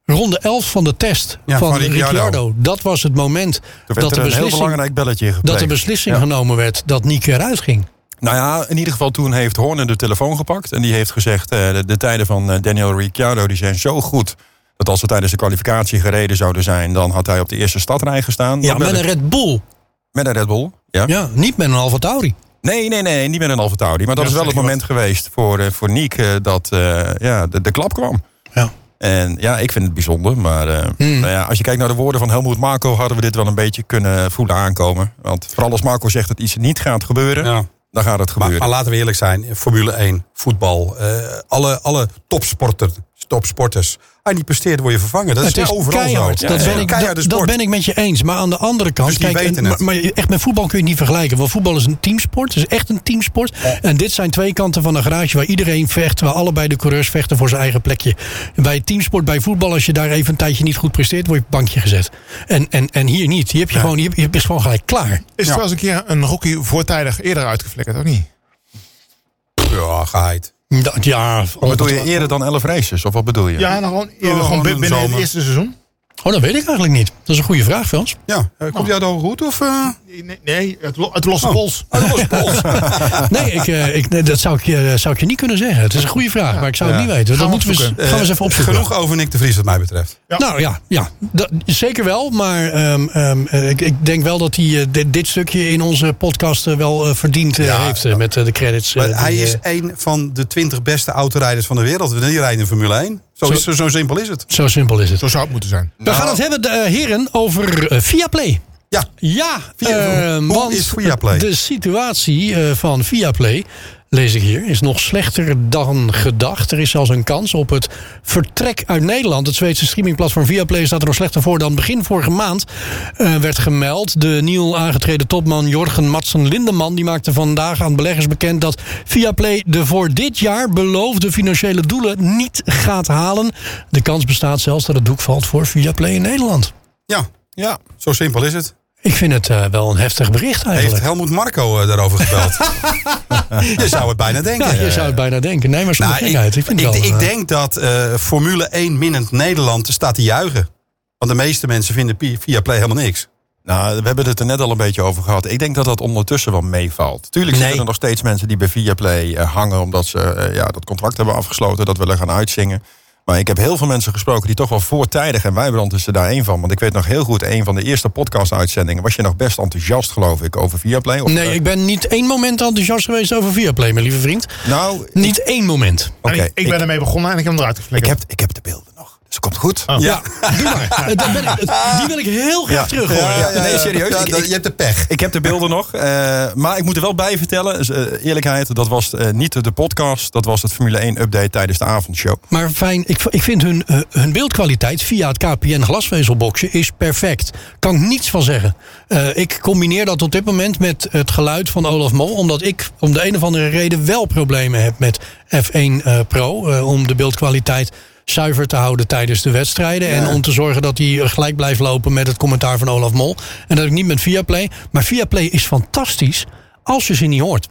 Speaker 1: Ronde 11 van de test
Speaker 4: Ja,
Speaker 1: van,
Speaker 4: van
Speaker 1: Ricciardo.
Speaker 4: Ricciardo.
Speaker 1: Dat was het moment
Speaker 2: Er
Speaker 1: dat
Speaker 2: werd
Speaker 1: de
Speaker 2: er een heel
Speaker 1: beslissing,
Speaker 2: belangrijk belletje gepleegd.
Speaker 1: dat de beslissing
Speaker 2: Ja.
Speaker 1: genomen werd dat Niek eruit ging.
Speaker 2: Nou ja, in ieder geval toen heeft Horner de telefoon gepakt. En die heeft gezegd, eh, de, de tijden van eh, Daniel Ricciardo die zijn zo goed... dat als ze tijdens de kwalificatie gereden zouden zijn... dan had hij op de eerste stadrij gestaan.
Speaker 1: Ja,
Speaker 2: Dan
Speaker 1: met
Speaker 2: werd
Speaker 1: een Red Bull.
Speaker 2: het- met een Red Bull. Ja.
Speaker 1: Ja, niet met een Alfa Tauri.
Speaker 2: Nee, nee, nee, niet met een Alfa Tauri. Maar dat
Speaker 3: Ja,
Speaker 2: is wel het
Speaker 3: zeg je
Speaker 2: moment geweest voor, eh, voor Niek eh, dat eh, ja, de, de klap kwam.
Speaker 1: Ja.
Speaker 2: Eh, En ja, ik vind het bijzonder. Maar eh, nou ja, als je kijkt naar de woorden van Helmoet Marco... hadden we dit wel een beetje kunnen voelen aankomen. Want vooral als Marco zegt dat iets niet gaat gebeuren...
Speaker 4: Ja.
Speaker 2: dan gaat het
Speaker 4: Maar,
Speaker 2: gebeuren.
Speaker 4: maar laten we eerlijk zijn, Formule 1, voetbal, eh, alle, alle topsporter, topsporters. Als je niet presteert, word je vervangen. Dat
Speaker 1: Het
Speaker 4: is,
Speaker 1: is
Speaker 4: overal
Speaker 1: keihard.
Speaker 4: zo.
Speaker 1: Dat, ben ik,
Speaker 4: Keiharde
Speaker 1: dat, dat
Speaker 4: sport.
Speaker 1: ben ik met je eens. Maar aan de andere kant...
Speaker 4: Dus die
Speaker 1: kijk,
Speaker 4: weten
Speaker 1: en-
Speaker 4: het.
Speaker 1: Maar, maar echt met voetbal kun je het niet vergelijken. Want voetbal is een teamsport. Het is echt een teamsport. En dit zijn twee kanten van een garage waar iedereen vecht. Waar allebei de coureurs vechten voor zijn eigen plekje. En Bij teamsport, bij voetbal, als je daar even een tijdje niet goed presteert... word je op het bankje gezet. En, en, en hier niet. Hier heb je, gewoon, hier, hier is gewoon gelijk klaar.
Speaker 3: Is er wel eens een keer een Rocky voortijdig eerder uitgeflikkerd, of niet?
Speaker 4: Ja, geheid.
Speaker 1: Dat, ja,
Speaker 2: Wat bedoel je eerder dan elf races? Of wat bedoel je?
Speaker 3: Ja, nou gewoon eerder,
Speaker 4: gewoon
Speaker 3: gewoon
Speaker 4: een
Speaker 3: binnen binnen
Speaker 4: zomer.
Speaker 3: het eerste seizoen.
Speaker 1: Oh, dat weet ik eigenlijk niet. Dat is een goede vraag, Frans.
Speaker 4: Ja, eh, komt jou dan goed? Of, eh?
Speaker 3: Nee, nee het, lo- Oh. het losse pols.
Speaker 4: Ah, dat was Pols.
Speaker 1: Nee, ik, eh, ik, nee, dat zou ik, je- zou ik je niet kunnen zeggen. Het is een goede vraag, maar ik zou het niet weten. Dan
Speaker 3: Gaan we
Speaker 1: moeten we, eens-
Speaker 3: opzoeken.
Speaker 1: gaan we eens even opzoeken.
Speaker 4: Genoeg over Nick de Vries wat mij betreft.
Speaker 3: Ja.
Speaker 1: Nou ja, ja dat, zeker wel. Maar ehm, ehm, eh, ik, ik denk wel dat hij eh, dit, dit stukje in onze podcast eh, wel eh, verdiend eh,
Speaker 4: Ja,
Speaker 1: heeft eh, met eh, de credits. eh,
Speaker 4: Maar hij
Speaker 1: die,
Speaker 4: is
Speaker 1: eh,
Speaker 4: een van de 20 beste autorijders van de wereld. Die rijden in Formule 1. Zo,
Speaker 1: Zo-
Speaker 4: is- zo, zo simpel is het.
Speaker 1: zo simpel is het.
Speaker 3: Zo zou het moeten zijn.
Speaker 4: Nou.
Speaker 1: We gaan het hebben, de, eh, heren, over eh, Viaplay.
Speaker 4: Ja,
Speaker 1: Ja,
Speaker 4: Via-
Speaker 1: eh,
Speaker 4: hoe
Speaker 1: want
Speaker 4: is Viaplay?
Speaker 1: de situatie eh, van Viaplay, lees ik hier, is nog slechter dan gedacht. Er is zelfs een kans op het vertrek uit Nederland. Het Zweedse streamingplatform Viaplay staat er nog slechter voor dan begin vorige maand eh, werd gemeld. De nieuw aangetreden topman Jorgen Matsen Lindeman die maakte vandaag aan beleggers bekend dat Viaplay de voor dit jaar beloofde financiële doelen niet gaat halen. De kans bestaat zelfs dat het doek valt voor Viaplay in Nederland.
Speaker 4: ja, ja, zo simpel is het.
Speaker 1: Ik vind het eh, wel een heftig bericht eigenlijk.
Speaker 4: Heeft Helmoet Marco eh, daarover gebeld? je zou het bijna denken.
Speaker 1: Ja, je zou het bijna denken. Nee, maar zonder
Speaker 4: Eh, Nou,
Speaker 1: gekheid. Ik, vind het
Speaker 4: ik,
Speaker 1: wel,
Speaker 4: ik
Speaker 1: eh,
Speaker 4: denk dat eh, Formule 1 minnend Nederland staat te juichen. Want de meeste mensen vinden Pi- Viaplay helemaal niks.
Speaker 2: Nou, we hebben het er net al een beetje over gehad. Ik denk dat dat ondertussen wel meevalt. Tuurlijk
Speaker 4: Nee.
Speaker 2: zitten er nog steeds mensen die bij Viaplay eh, hangen... omdat ze eh, ja, dat contract hebben afgesloten, dat willen gaan uitzingen. Maar ik heb heel veel mensen gesproken die toch wel voortijdig... en Wijbrand is er daar één van. Want ik weet nog heel goed, een van de eerste podcast-uitzendingen... was je nog best enthousiast, geloof ik, over Viaplay. Of,
Speaker 1: Nee,
Speaker 2: eh,
Speaker 1: ik ben niet één moment enthousiast geweest over Viaplay, mijn lieve vriend.
Speaker 2: Nou,
Speaker 1: Niet één moment.
Speaker 2: oké.
Speaker 3: En ik, ik ben ermee begonnen en ik heb hem eruit
Speaker 2: ik,
Speaker 3: geflikkerd.
Speaker 2: heb, ik heb de beelden nog, dus het komt goed.
Speaker 4: Ah,
Speaker 3: Oh.
Speaker 1: Ja, doe maar. Eh, daar ben ik- eh, die wil ik heel graag terug horen.
Speaker 4: Ja, ja, ja.
Speaker 2: Nee, serieus,
Speaker 4: Ja,
Speaker 2: ik-
Speaker 4: dat-
Speaker 2: ik-
Speaker 4: je hebt de pech.
Speaker 2: Ik heb de beelden nog. eh, maar ik moet er wel bij vertellen, dus, eh, eerlijkheid, dat was eh, niet de podcast. Dat was het Formule 1-update tijdens de avondshow.
Speaker 1: Maar fijn, ik, ik vind hun, eh, hun beeldkwaliteit via het KPN glasvezelboxje is perfect. Kan ik niets van zeggen. Eh, ik combineer dat op dit moment met het geluid van Olaf Mol. Omdat ik om de een of andere reden wel problemen heb met F1 eh, Pro. eh, om de beeldkwaliteit zuiver te houden tijdens de wedstrijden. En om te zorgen dat die eh, gelijk blijft lopen met het commentaar van Olaf Mol. En dat ik niet met Viaplay. Maar Viaplay is fantastisch als je ze niet hoort.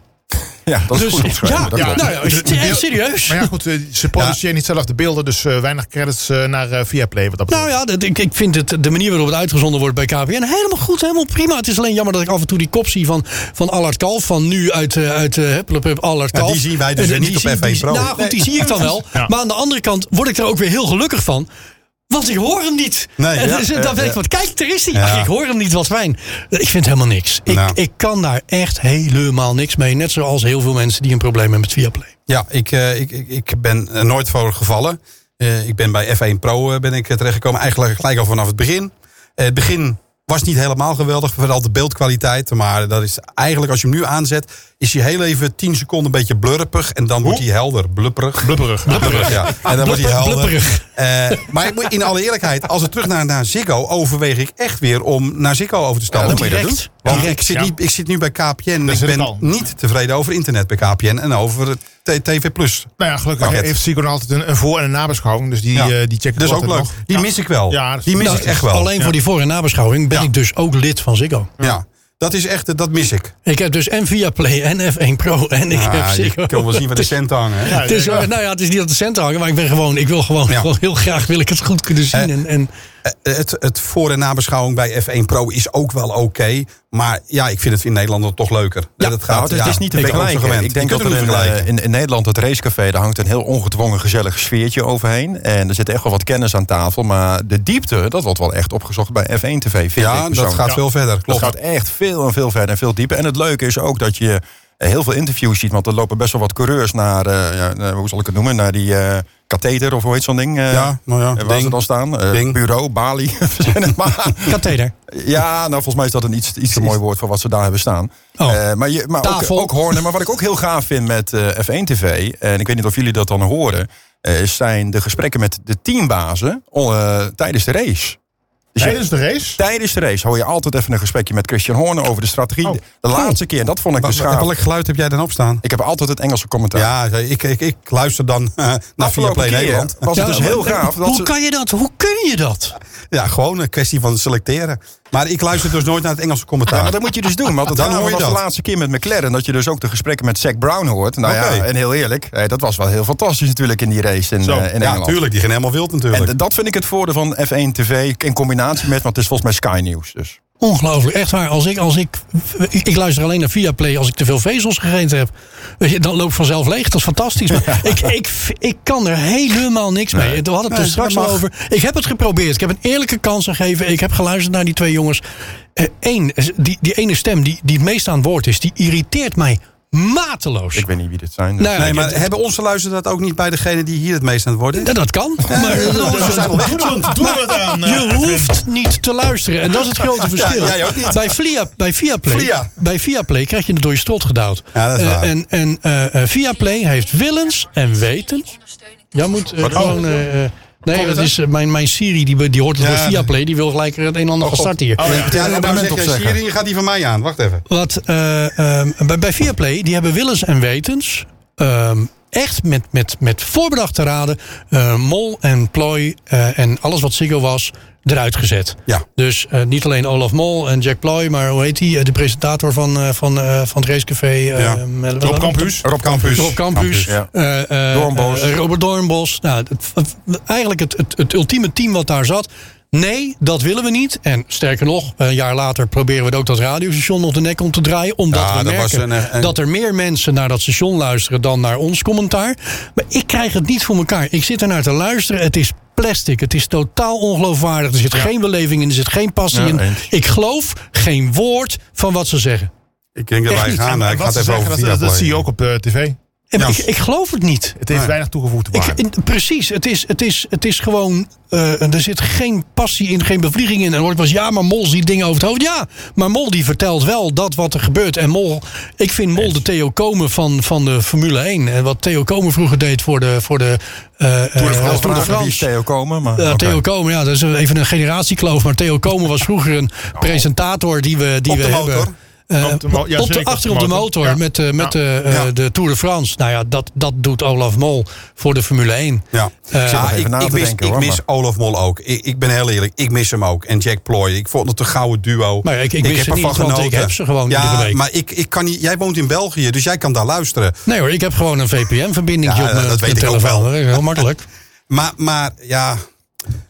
Speaker 2: Ja, dat is
Speaker 1: Dus-
Speaker 2: goed omschreven.
Speaker 1: ja,
Speaker 2: dat
Speaker 1: ja,
Speaker 2: klopt.
Speaker 1: nou ja, is het echt serieus?
Speaker 3: Dus Maar ja, goed, eh, ze produceren niet zelf de beelden, dus eh, weinig credits eh, naar eh, Viaplay. Wat dat betreft.
Speaker 1: Nou ja, dat, ik, ik vind het, de manier waarop het uitgezonden wordt bij KPN helemaal goed, helemaal prima. Het is alleen jammer dat ik af en toe die kop zie van, van Allard Kalf. Van nu uit, eh, uit eh, Hupplepup Allard
Speaker 4: Ja, die
Speaker 1: Kalf.
Speaker 4: zien wij dus
Speaker 1: Eh,
Speaker 4: weer
Speaker 1: die
Speaker 4: niet op
Speaker 1: zie-
Speaker 4: F1
Speaker 1: die-
Speaker 4: Pro.
Speaker 1: Nou goed, die zie ik dan wel.
Speaker 3: Ja.
Speaker 1: Maar aan de andere kant word ik er ook weer heel gelukkig van. Want ik hoor hem niet.
Speaker 4: Nee,
Speaker 1: en
Speaker 4: ja,
Speaker 1: dus,
Speaker 4: ja,
Speaker 1: dan weet
Speaker 4: ja.
Speaker 1: ik wat. Kijk, er is hij.
Speaker 4: Ja.
Speaker 1: Ach, ik hoor hem niet, wat fijn. Ik vind helemaal niks. Ik,
Speaker 4: Nou.
Speaker 1: ik kan daar echt helemaal niks mee. Net zoals heel veel mensen die een probleem hebben met Viaplay.
Speaker 4: Ja, ik, eh, ik, ik, ik ben er nooit voor gevallen. Eh, ik ben bij F1 Pro eh, ben ik eh, terechtgekomen. Eigenlijk gelijk al vanaf het begin. Eh, het begin was niet helemaal geweldig. Vooral de beeldkwaliteit. Maar dat is eigenlijk als je hem nu aanzet. Is hij heel even 10 seconden een beetje blurpig. En dan wordt hij helder. Blupperig.
Speaker 3: Blubberig.
Speaker 4: Blubberig, ja. En dan wordt hij
Speaker 1: Blubber-
Speaker 4: helder.
Speaker 1: blubberig.
Speaker 4: Eh, maar ik moet- in alle eerlijkheid, als we terug naar, naar Ziggo... overweeg ik echt weer om naar Ziggo over te stappen.
Speaker 1: Ja,
Speaker 4: Moet je
Speaker 1: direct.
Speaker 4: dat doen? Want
Speaker 3: Direct,
Speaker 4: ik, zit
Speaker 3: ja.
Speaker 4: niet, ik zit nu bij KPN.
Speaker 3: is
Speaker 4: Ik
Speaker 3: het
Speaker 4: ben
Speaker 3: al.
Speaker 4: niet tevreden over internet bij KPN... en over het T- TV+. Plus.
Speaker 3: Nou ja, gelukkig
Speaker 4: Pakket.
Speaker 3: heeft Sigon altijd een, een voor- en een nabeschouwing. Dus die, eh,
Speaker 4: Ja.
Speaker 3: die checken
Speaker 4: Dat is
Speaker 3: we
Speaker 4: ook leuk.
Speaker 3: altijd nog.
Speaker 4: Die
Speaker 3: Ja.
Speaker 4: mis ik wel.
Speaker 3: Ja, dat is
Speaker 4: die mis
Speaker 3: goed.
Speaker 4: ik echt wel.
Speaker 1: Alleen voor die voor- en nabeschouwing ben
Speaker 4: Ja.
Speaker 1: ik dus ook lid van Ziggo.
Speaker 4: Ja, dat is echt, dat mis ik.
Speaker 1: Ik heb dus en Viaplay en F1 Pro en ik heb
Speaker 4: Ah,
Speaker 1: Ziggo.
Speaker 4: je kan wel zien waar de centen hangen. hè?
Speaker 1: Het is, nou ja, het is niet dat de centen hangen, maar ik ben gewoon, ik wil gewoon,
Speaker 4: Ja.
Speaker 1: gewoon heel graag wil ik het goed kunnen zien.
Speaker 4: Eh,
Speaker 1: En, en
Speaker 4: Eh, Het, het voor- en nabeschouwing bij F1 Pro is ook wel oké. maar ja, ik vind het in Nederland dan toch leuker.
Speaker 1: Ja,
Speaker 4: dat gaat,
Speaker 2: Nou, het is,
Speaker 4: ja,
Speaker 2: het is niet te
Speaker 4: ik ben ook zo
Speaker 2: vergelijken.
Speaker 4: gewend.
Speaker 2: Ik denk
Speaker 4: Je
Speaker 2: dat
Speaker 4: kunt
Speaker 2: er
Speaker 4: het
Speaker 2: in,
Speaker 4: niet vergelijken.
Speaker 2: eh, in, in Nederland, het racecafé, daar hangt een heel ongedwongen gezellig sfeertje overheen. En er zit echt wel wat kennis aan tafel. Maar de diepte, dat wordt wel echt opgezocht bij F1 TV, vind ik
Speaker 4: Ja, dat
Speaker 2: persoonlijk.
Speaker 4: gaat veel verder.
Speaker 2: Dat
Speaker 4: Klopt.
Speaker 2: gaat echt veel en veel verder en veel dieper. En het leuke is ook dat je heel veel interviews ziet. Want er lopen best wel wat coureurs naar, eh, ja, eh, hoe zal ik het noemen, naar die... eh, katheter of hoe heet zo'n ding? eh,
Speaker 4: Ja, nou ja,
Speaker 2: eh, Waar
Speaker 4: ding.
Speaker 2: ze dan staan? Eh,
Speaker 4: Ding.
Speaker 2: Bureau, balie. we zijn het maar.
Speaker 1: Katheder.
Speaker 2: Ja, nou volgens mij is dat een iets, iets te mooi woord voor wat ze daar hebben staan.
Speaker 1: Oh.
Speaker 2: Eh, maar je, maar ook,
Speaker 1: Tafel.
Speaker 2: ook horen. Maar wat ik ook heel gaaf vind met eh, F1 TV, en ik weet niet of jullie dat dan horen, eh, zijn de gesprekken met de teambazen eh, tijdens de race. Dus je-
Speaker 3: Tijdens de race?
Speaker 2: tijdens de race hoor je altijd even een gesprekje met Christian Horner over de strategie.
Speaker 3: Oh.
Speaker 2: De, de laatste keer, en dat vond ik dus gaaf.
Speaker 4: Welk geluid heb jij dan opstaan?
Speaker 2: Ik heb altijd het Engelse commentaar.
Speaker 4: Ja, ik, ik, ik luister dan eh, naar
Speaker 2: Afgelopen
Speaker 4: Viaplay
Speaker 2: keer
Speaker 4: Nederland.
Speaker 2: was het
Speaker 1: Ja,
Speaker 2: dus heel
Speaker 1: maar-
Speaker 2: gaaf. Dat
Speaker 1: Hoe
Speaker 2: ze-
Speaker 1: kan je dat? Hoe kun je dat?
Speaker 4: Ja, gewoon een kwestie van selecteren. Maar ik luister dus nooit naar het Engelse
Speaker 2: Ja, maar
Speaker 4: commentaar.
Speaker 2: dat moet je dus doen. Want het
Speaker 4: Dan
Speaker 2: dan
Speaker 4: hoor
Speaker 2: was
Speaker 4: je
Speaker 2: de
Speaker 4: dat.
Speaker 2: laatste keer met McLaren dat je dus ook de gesprekken met Zac Brown hoort. Nou ja,
Speaker 4: Oké.
Speaker 2: en heel eerlijk, eh, dat was wel heel fantastisch natuurlijk in die race in, eh, in
Speaker 4: ja,
Speaker 2: Engeland.
Speaker 4: natuurlijk. Die gaan helemaal wild natuurlijk.
Speaker 2: en d- dat vind ik het voordeel van F1 TV in combinatie met, want het is volgens mij Sky News. Dus.
Speaker 1: Ongelooflijk, echt waar. Als ik, als ik, ik luister alleen naar Viaplay als ik te veel vezels gegeten heb. Weet je, dan loop ik vanzelf leeg. Dat is fantastisch. Maar ik, ik, ik kan er helemaal niks mee. We hadden het er
Speaker 4: Nee,
Speaker 1: straks
Speaker 4: dat
Speaker 1: al
Speaker 4: mag.
Speaker 1: over. Ik heb het geprobeerd. Ik heb een eerlijke kans gegeven. Ik heb geluisterd naar die twee jongens. Eén, die, die ene stem die, die het meest aan het woord is, die irriteert mij mateloos.
Speaker 2: Ik weet niet wie dit zijn.
Speaker 1: Nou,
Speaker 4: nee, maar
Speaker 1: dat-
Speaker 4: hebben onze luisteren dat ook niet bij degene die hier het meest aan het worden is?
Speaker 1: dat, dat kan. Maar
Speaker 4: Ze zijn wel weg.
Speaker 3: Doe dat- doe dat aan. eh,
Speaker 1: Je hoeft niet te luisteren. En dat is het grote verschil.
Speaker 4: jij ook niet.
Speaker 1: Bij, Vlia, bij, Viaplay,
Speaker 4: Vlia.
Speaker 1: bij Viaplay krijg je het door je strot gedouwd.
Speaker 4: Ja, dat is
Speaker 1: Eh,
Speaker 4: waar.
Speaker 1: en en eh, eh, Viaplay heeft willens en wetens. Jij moet eh, gewoon... eh, eh, nee, dat is eh, mijn, mijn Siri, die, be- die hoort het
Speaker 4: Ja. Oh,
Speaker 1: door Viaplay. Die wil gelijk er het een en ander gaan starten hier.
Speaker 4: ja,
Speaker 2: een
Speaker 4: ja, nou
Speaker 2: abonnement
Speaker 4: zeg je,
Speaker 2: opzeggen.
Speaker 4: Siri, je gaat die van mij aan. Wacht even.
Speaker 1: Wat, eh, ehm, bij, bij Viaplay, die hebben willens en wetens... ehm, echt met, met, met voorbedachte raden... eh, mol en plooi eh, en alles wat Ziggo was... eruit gezet.
Speaker 4: Ja.
Speaker 1: Dus eh, niet alleen Olaf Mol en Jack Ploy... maar hoe heet hij? de presentator van, eh, van, eh, van het racecafé... eh,
Speaker 4: Ja.
Speaker 1: eh,
Speaker 3: Rob Campus.
Speaker 2: Rob Campus.
Speaker 1: Rob Campus,
Speaker 2: ja.
Speaker 1: eh, eh,
Speaker 2: Doornbos.
Speaker 1: eh, Robert Doornbos. Nou, het- het- eigenlijk het, het, het ultieme team wat daar zat. Nee, dat willen we niet. En sterker nog, een jaar later proberen we het ook dat radiostation op de nek om te draaien. Omdat
Speaker 4: Ja,
Speaker 1: we
Speaker 4: dat was
Speaker 1: merken
Speaker 4: een- een-
Speaker 1: dat er meer mensen naar dat station luisteren dan naar ons commentaar. Maar ik krijg het niet voor elkaar. Ik zit er naar te luisteren. Het is plastic. Het is totaal ongeloofwaardig. Er zit geen beleving in. Er zit geen passie
Speaker 2: Ja,
Speaker 1: in.
Speaker 2: eens.
Speaker 1: Ik geloof geen woord van wat ze zeggen.
Speaker 4: Ik denk dat
Speaker 3: Echt
Speaker 4: wij
Speaker 3: niet.
Speaker 4: gaan.
Speaker 3: En
Speaker 4: eh, Ik
Speaker 3: wat
Speaker 4: ga het
Speaker 3: ze
Speaker 4: even
Speaker 3: zeggen,
Speaker 4: over
Speaker 3: dat- dat,
Speaker 4: Viaplay.
Speaker 3: dat zie je ook op eh, tv.
Speaker 1: En
Speaker 4: Ja.
Speaker 1: ik, ik geloof het niet.
Speaker 3: Het heeft weinig toegevoegde
Speaker 1: Ik,
Speaker 3: waarde.
Speaker 1: in- precies, het is, het is, het is gewoon. eh, er zit geen passie in, geen bevlieging in. En hoort was ja, maar Mol ziet dingen over het hoofd. Ja, maar Mol die vertelt wel dat wat er gebeurt. En Mol, ik vind Mol de Theo Komen van, van de Formule 1. En wat Theo Komen vroeger deed voor de, voor de eh, eh,
Speaker 2: Tour de France.
Speaker 1: Tour de
Speaker 2: vragen wie is
Speaker 1: France.
Speaker 2: Theo komen. Maar,
Speaker 1: Ja,
Speaker 2: oké.
Speaker 1: Eh, Theo Komen, ja, dat is even een generatiekloof. Maar Theo Komen was vroeger een presentator die we, die
Speaker 4: Oh. Op de
Speaker 1: we
Speaker 4: motor.
Speaker 1: hebben. Eh,
Speaker 3: Op de mo- ja,
Speaker 1: op de,
Speaker 3: zeker,
Speaker 1: achter op de motor
Speaker 3: Ja.
Speaker 1: met, eh, met de, eh,
Speaker 4: Ja.
Speaker 1: de Tour de France. Nou ja, dat, dat doet Olaf Mol voor de Formule 1.
Speaker 4: Ja,
Speaker 1: Eh,
Speaker 4: Ja,
Speaker 2: nog even
Speaker 4: ah, ik,
Speaker 2: na
Speaker 4: ik
Speaker 2: te
Speaker 4: mis,
Speaker 2: denken,
Speaker 4: ik
Speaker 2: hoor,
Speaker 4: mis
Speaker 2: maar-
Speaker 4: Olaf Mol ook. Ik, ik ben heel eerlijk, ik mis hem ook. En Jack Ploy, ik vond het een gouden duo.
Speaker 1: Maar ik- ik mis ze
Speaker 4: ervan
Speaker 1: niet, want ik
Speaker 4: genoten.
Speaker 1: heb ze gewoon
Speaker 4: ja,
Speaker 1: iedere week.
Speaker 4: maar ik, ik kan niet, jij woont in België, dus jij kan daar luisteren.
Speaker 1: Nee hoor, ik heb gewoon een VPN-verbinding
Speaker 4: Ja,
Speaker 1: op mijn
Speaker 4: dat weet
Speaker 1: mijn
Speaker 4: ik ook
Speaker 1: telefoon.
Speaker 4: wel. Dus
Speaker 1: Dat is Heel makkelijk.
Speaker 4: Maar, maar ja,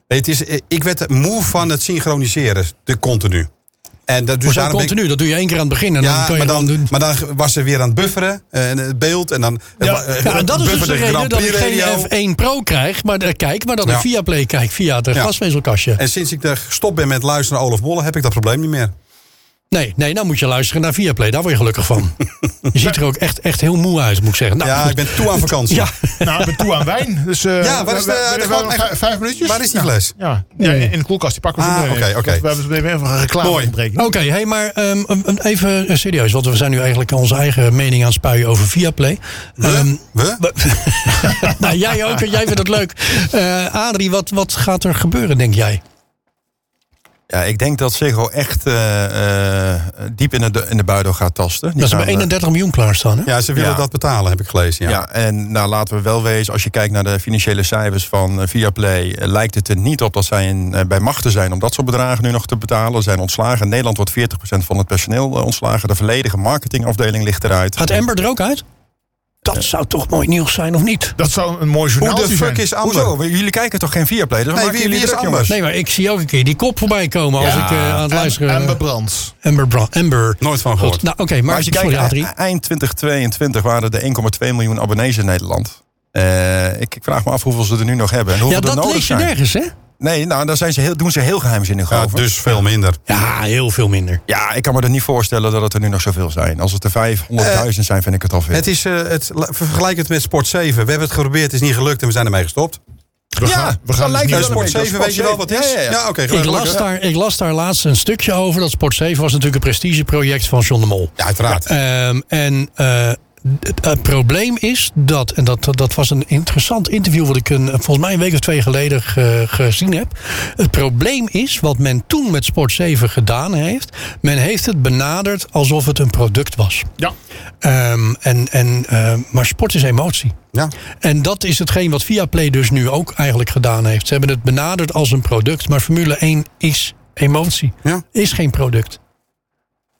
Speaker 4: het is, eh, ik werd er moe van het synchroniseren, de continu. En dat, dus
Speaker 1: Maar zo
Speaker 4: daarom ben ik-
Speaker 1: continu, dat doe je één keer aan het begin en dan
Speaker 4: Ja,
Speaker 1: kan je
Speaker 4: maar
Speaker 1: dan,
Speaker 4: dan,
Speaker 1: doen.
Speaker 4: maar dan was ze weer aan het bufferen, eh, en het beeld. En dan,
Speaker 1: Ja,
Speaker 4: eh,
Speaker 1: ja, en dat is dus
Speaker 4: bufferde
Speaker 1: de reden
Speaker 4: Grand
Speaker 1: dat ik
Speaker 4: Prix radio.
Speaker 1: geen F1 Pro krijg, maar, eh, kijk, maar dat ik
Speaker 4: Ja.
Speaker 1: via Play kijk, via de
Speaker 4: Ja.
Speaker 1: glasvezelkastje.
Speaker 4: En sinds ik daar gestopt ben met luisteren naar Olaf Mol, heb ik dat probleem niet meer.
Speaker 1: Nee, nee, nou moet je luisteren naar Viaplay. Daar word je gelukkig van. je ziet er ook echt, echt heel moe uit, moet ik zeggen. Nou,
Speaker 4: Ja,
Speaker 1: goed.
Speaker 4: ik ben toe aan vakantie.
Speaker 1: Ja.
Speaker 3: Nou, ik ben toe aan wijn. Dus, eh,
Speaker 4: Ja, waar is de-
Speaker 3: we- we-
Speaker 4: de-
Speaker 3: we- we-
Speaker 4: de-
Speaker 3: vijf- Vijf minuutjes?
Speaker 4: Waar is die
Speaker 3: Ja.
Speaker 4: fles?
Speaker 3: Ja, ja in in de koelkast. Die pakken we
Speaker 4: Ah,
Speaker 3: zo meteen
Speaker 4: oké,
Speaker 3: even.
Speaker 4: oké.
Speaker 3: Want We hebben zo meteen even een
Speaker 4: Mooi.
Speaker 3: reclameontbreking.
Speaker 1: Oké, hey, maar ehm, ehm, even eh, serieus, want we zijn nu eigenlijk onze eigen mening aan het spuien over Viaplay. Ehm,
Speaker 4: We?
Speaker 1: we- nou, jij ook, en jij vindt het leuk. Eh, Adrie, wat, wat gaat er gebeuren, denk jij?
Speaker 2: Ja, ik denk dat Ziggo echt eh, eh, diep in de, in de buidel gaat tasten. Die
Speaker 1: Dat ze
Speaker 2: gaan,
Speaker 1: maar
Speaker 2: eh,
Speaker 1: 31 miljoen klaarstaan, hè?
Speaker 4: Ja, ze willen
Speaker 2: Ja.
Speaker 4: dat betalen, heb ik gelezen. Ja.
Speaker 2: Ja. en nou laten we wel wezen, als je kijkt naar de financiële cijfers van eh, Viaplay, eh, lijkt het er niet op dat zij in, eh, bij machten zijn om dat soort bedragen nu nog te betalen. Ze zijn ontslagen. In Nederland wordt 40% van het personeel eh, ontslagen. De volledige marketingafdeling ligt eruit.
Speaker 1: Gaat Amber er ook uit? Eh. Dat zou toch mooi nieuws zijn, of niet?
Speaker 3: Dat zou een mooi
Speaker 4: Hoe
Speaker 3: journaal
Speaker 4: de fuck is Amber?
Speaker 2: Hoezo? Jullie kijken toch geen Viaplay? Dus
Speaker 4: Nee,
Speaker 2: maken
Speaker 4: wie-
Speaker 2: jullie
Speaker 4: wie is
Speaker 2: druk,
Speaker 4: Amber?
Speaker 1: Nee, maar ik zie ook een keer die kop voorbij komen als ik eh, aan het luisteren...
Speaker 3: En bebrand.
Speaker 1: Amber Bra- Amber.
Speaker 4: Nooit van
Speaker 1: Goed,
Speaker 4: gehoord.
Speaker 1: nou oké,
Speaker 2: Maar
Speaker 1: maar,
Speaker 2: als je
Speaker 1: sorry
Speaker 2: kijkt,
Speaker 1: Adrie.
Speaker 2: e- eind 2022 waren er 1,2 miljoen abonnees in Nederland. Eh, ik, ik vraag me af hoeveel ze er nu nog hebben. En
Speaker 1: Ja,
Speaker 2: hoeveel er
Speaker 1: dat
Speaker 2: nodig
Speaker 1: lees je
Speaker 2: zijn.
Speaker 1: nergens, hè?
Speaker 2: Nee, nou, daar zijn ze heel, doen ze heel geheimzinnig
Speaker 4: Ja,
Speaker 2: over.
Speaker 4: dus veel minder.
Speaker 1: Ja, heel veel minder.
Speaker 2: Ja, ik kan me er niet voorstellen dat het er nu nog zoveel zijn. Als het er 500.000 zijn, vind ik het al veel.
Speaker 4: Het is, eh, het, la- vergelijk het met Sport 7. We hebben het geprobeerd, het is niet gelukt en we zijn ermee gestopt.
Speaker 3: We gaan, we gaan
Speaker 2: dan
Speaker 3: dus
Speaker 2: lijkt
Speaker 3: niet-
Speaker 4: Eh,
Speaker 2: het wel
Speaker 4: Sport
Speaker 2: een beetje
Speaker 4: 7, weet je wel wat het is?
Speaker 2: Ja, ja, ja.
Speaker 4: oké.
Speaker 1: Ik
Speaker 4: gelukkig.
Speaker 1: las, daar, ik las daar laatst een stukje over. Dat Sport 7 was natuurlijk een prestigeproject van John de Mol.
Speaker 4: Ja, uiteraard.
Speaker 1: Ehm, en eh, het, het probleem is dat, en dat, dat was een interessant interview wat ik een, volgens mij een week of twee geleden ge- gezien heb. Het probleem is wat men toen met Sport 7 gedaan heeft. Men heeft het benaderd alsof het een product was.
Speaker 3: Ja.
Speaker 1: Ehm, en, en, ehm, maar sport is emotie.
Speaker 4: Ja.
Speaker 1: En dat is hetgeen wat Viaplay dus nu ook eigenlijk gedaan heeft. Ze hebben het benaderd als een product, maar Formule 1 is emotie.
Speaker 4: Ja.
Speaker 1: Is geen product. Ik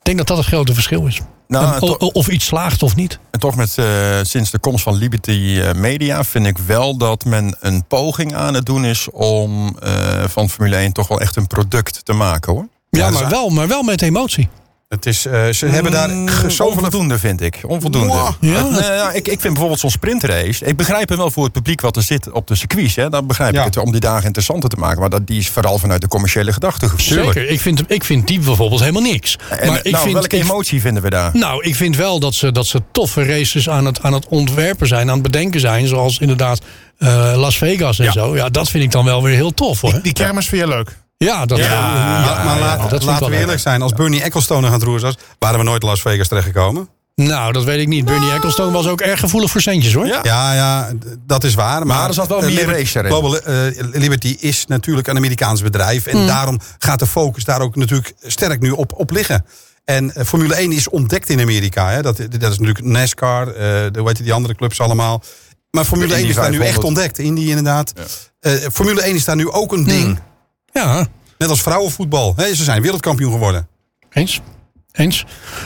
Speaker 1: denk dat dat het grote verschil is.
Speaker 2: Nou,
Speaker 1: En
Speaker 2: to-
Speaker 1: o- o- of iets slaagt of niet.
Speaker 2: En toch met, eh, sinds de komst van Liberty eh, Media vind ik wel dat men een poging aan het doen is om eh, van Formule 1 toch wel echt een product te maken hoor.
Speaker 1: Ja,
Speaker 4: dus-
Speaker 1: maar, wel, maar wel met emotie.
Speaker 4: Het is, eh, ze hebben daar ge- zoveel...
Speaker 2: Mm, onvoldoende vind ik. Onvoldoende.
Speaker 4: Mwah.
Speaker 1: Ja.
Speaker 2: Het, eh, nou, ik, ik vind bijvoorbeeld zo'n sprintrace. Ik begrijp hem wel voor het publiek wat er zit op de circuits. Hè. Dan begrijp
Speaker 4: Ja.
Speaker 2: ik het om die dagen interessanter te maken. Maar dat, die is vooral vanuit de commerciële gedachte gevoerd.
Speaker 1: Zeker. Ik vind, ik vind die bijvoorbeeld helemaal niks.
Speaker 2: En
Speaker 1: maar ik
Speaker 2: nou,
Speaker 1: vind,
Speaker 2: welke
Speaker 1: ik-
Speaker 2: emotie vinden we daar?
Speaker 1: nou, ik vind wel dat ze, dat ze toffe races aan het, aan het ontwerpen zijn, aan het bedenken zijn. Zoals inderdaad eh, Las Vegas en zo. Ja, dat vind ik dan wel weer heel tof hoor.
Speaker 3: Die kermis vind je leuk.
Speaker 1: Ja, dat, ja,
Speaker 4: Ja, maar laat-
Speaker 1: dat vind ik wel
Speaker 4: laten we
Speaker 1: leuk.
Speaker 4: eerlijk zijn. Als Bernie Ecclestone aan het roer was, waren we nooit in Las Vegas terechtgekomen.
Speaker 1: Nou, dat weet ik niet. Bernie Ecclestone was ook erg gevoelig voor centjes hoor.
Speaker 2: Ja.
Speaker 4: Ja, ja, d- dat is waar. Maar,
Speaker 2: er zat wel
Speaker 4: eh,
Speaker 2: meer
Speaker 4: Liberty-
Speaker 2: race erin.
Speaker 4: Global eh, Liberty is natuurlijk een Amerikaans bedrijf.
Speaker 1: Hmm.
Speaker 4: En daarom gaat de focus daar ook natuurlijk sterk nu op, op liggen. En eh, Formule 1 is ontdekt in Amerika. Hè. Dat, dat is natuurlijk NASCAR, eh de, hoe heet die andere clubs allemaal. Maar Formule
Speaker 2: De
Speaker 4: 1 is
Speaker 2: Indy
Speaker 4: daar nu echt
Speaker 2: 500.
Speaker 4: ontdekt. Indy inderdaad. Eh, Formule 1 is daar nu ook een
Speaker 1: Hmm.
Speaker 4: ding.
Speaker 1: Ja,
Speaker 4: Net als vrouwenvoetbal. Hè, ze zijn wereldkampioen geworden.
Speaker 1: eens. Eens.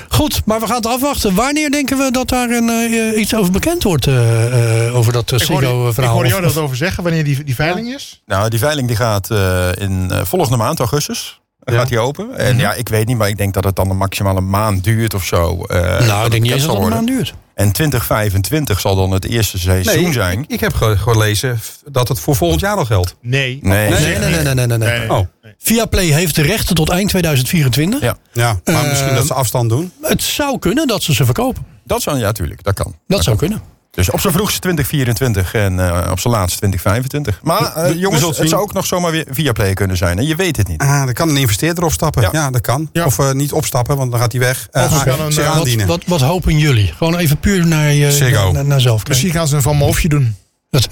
Speaker 1: Goed, maar we gaan het afwachten. Wanneer denken we dat daar een, eh, iets over bekend wordt? eh, eh, over dat
Speaker 3: Ik hoorde, ik
Speaker 1: Sigo-verhaal?
Speaker 3: hoorde jou dat over zeggen wanneer die, die veiling is.
Speaker 2: Nou, die veiling die gaat eh, in eh, volgende maand, augustus. Dan Gaat die open? En ja, ik weet niet, maar ik denk dat het dan een maximale maand duurt of zo. eh, dat
Speaker 1: nou, ik denk
Speaker 2: het
Speaker 1: niet
Speaker 2: bekend
Speaker 1: eens
Speaker 2: zal
Speaker 1: dat het een
Speaker 2: worden.
Speaker 1: maand duurt.
Speaker 2: En 2025 zal dan het eerste seizoen zijn.
Speaker 4: ik, ik heb ge- gelezen f- dat het voor volgend jaar al geldt.
Speaker 3: Nee.
Speaker 2: Nee.
Speaker 1: Nee, nee, nee, nee, nee, nee.
Speaker 3: Nee.
Speaker 4: Oh,
Speaker 1: Viaplay heeft de rechten tot eind 2024.
Speaker 2: Ja,
Speaker 4: ja. Maar
Speaker 1: Eh,
Speaker 4: misschien dat ze afstand doen.
Speaker 1: Het zou kunnen dat ze ze verkopen.
Speaker 2: dat zou, ja, tuurlijk, dat kan.
Speaker 1: Dat zou kunnen.
Speaker 2: Dus op zijn vroegste 2024 en eh, op zijn laatst 2025. Maar eh,
Speaker 4: We- we
Speaker 2: jongens,
Speaker 4: zullen
Speaker 2: het
Speaker 4: zien.
Speaker 2: zou ook nog zomaar weer via play kunnen zijn. En je weet het niet.
Speaker 4: Ah, dan kan een investeerder opstappen. Ja,
Speaker 2: Ja.
Speaker 4: dat kan.
Speaker 3: Ja.
Speaker 4: Of eh, niet opstappen, want dan gaat hij weg. Eh,
Speaker 3: Of
Speaker 4: ah,
Speaker 3: kan een,
Speaker 4: zich
Speaker 3: eh,
Speaker 1: Wat,
Speaker 4: aandienen.
Speaker 1: wat, wat hopen jullie? Gewoon even puur naar, je,
Speaker 4: Ziggo.
Speaker 1: naar, naar- naar zelf kijken.
Speaker 3: Misschien gaan ze een van Moofje doen.
Speaker 1: Dat,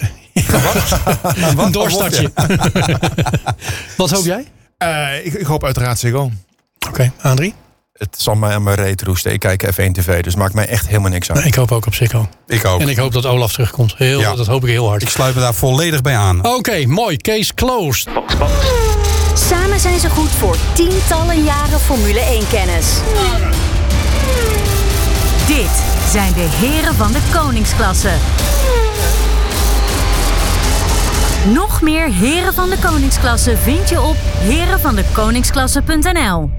Speaker 1: een doorstartje. wat hoop jij?
Speaker 3: Eh, ik, ik hoop uiteraard Ziggo.
Speaker 1: Oké, Adrie?
Speaker 2: Het zal mij aan mijn reet roesten. Ik kijk F1 TV, dus maakt mij echt helemaal niks uit.
Speaker 1: Nou, ik hoop ook op Sikko.
Speaker 4: Ik ook.
Speaker 1: En
Speaker 4: Ik,
Speaker 1: ik hoop dat Olaf terugkomt. Heel,
Speaker 4: Ja.
Speaker 1: Dat hoop ik heel hard.
Speaker 4: sluit me daar volledig bij aan.
Speaker 1: Oké, mooi. Case closed.
Speaker 5: Samen zijn ze goed voor tientallen jaren Formule 1-kennis. Dit zijn de heren van de koningsklasse. Nog meer heren van de koningsklasse vind je op herenvandekoningsklasse.nl.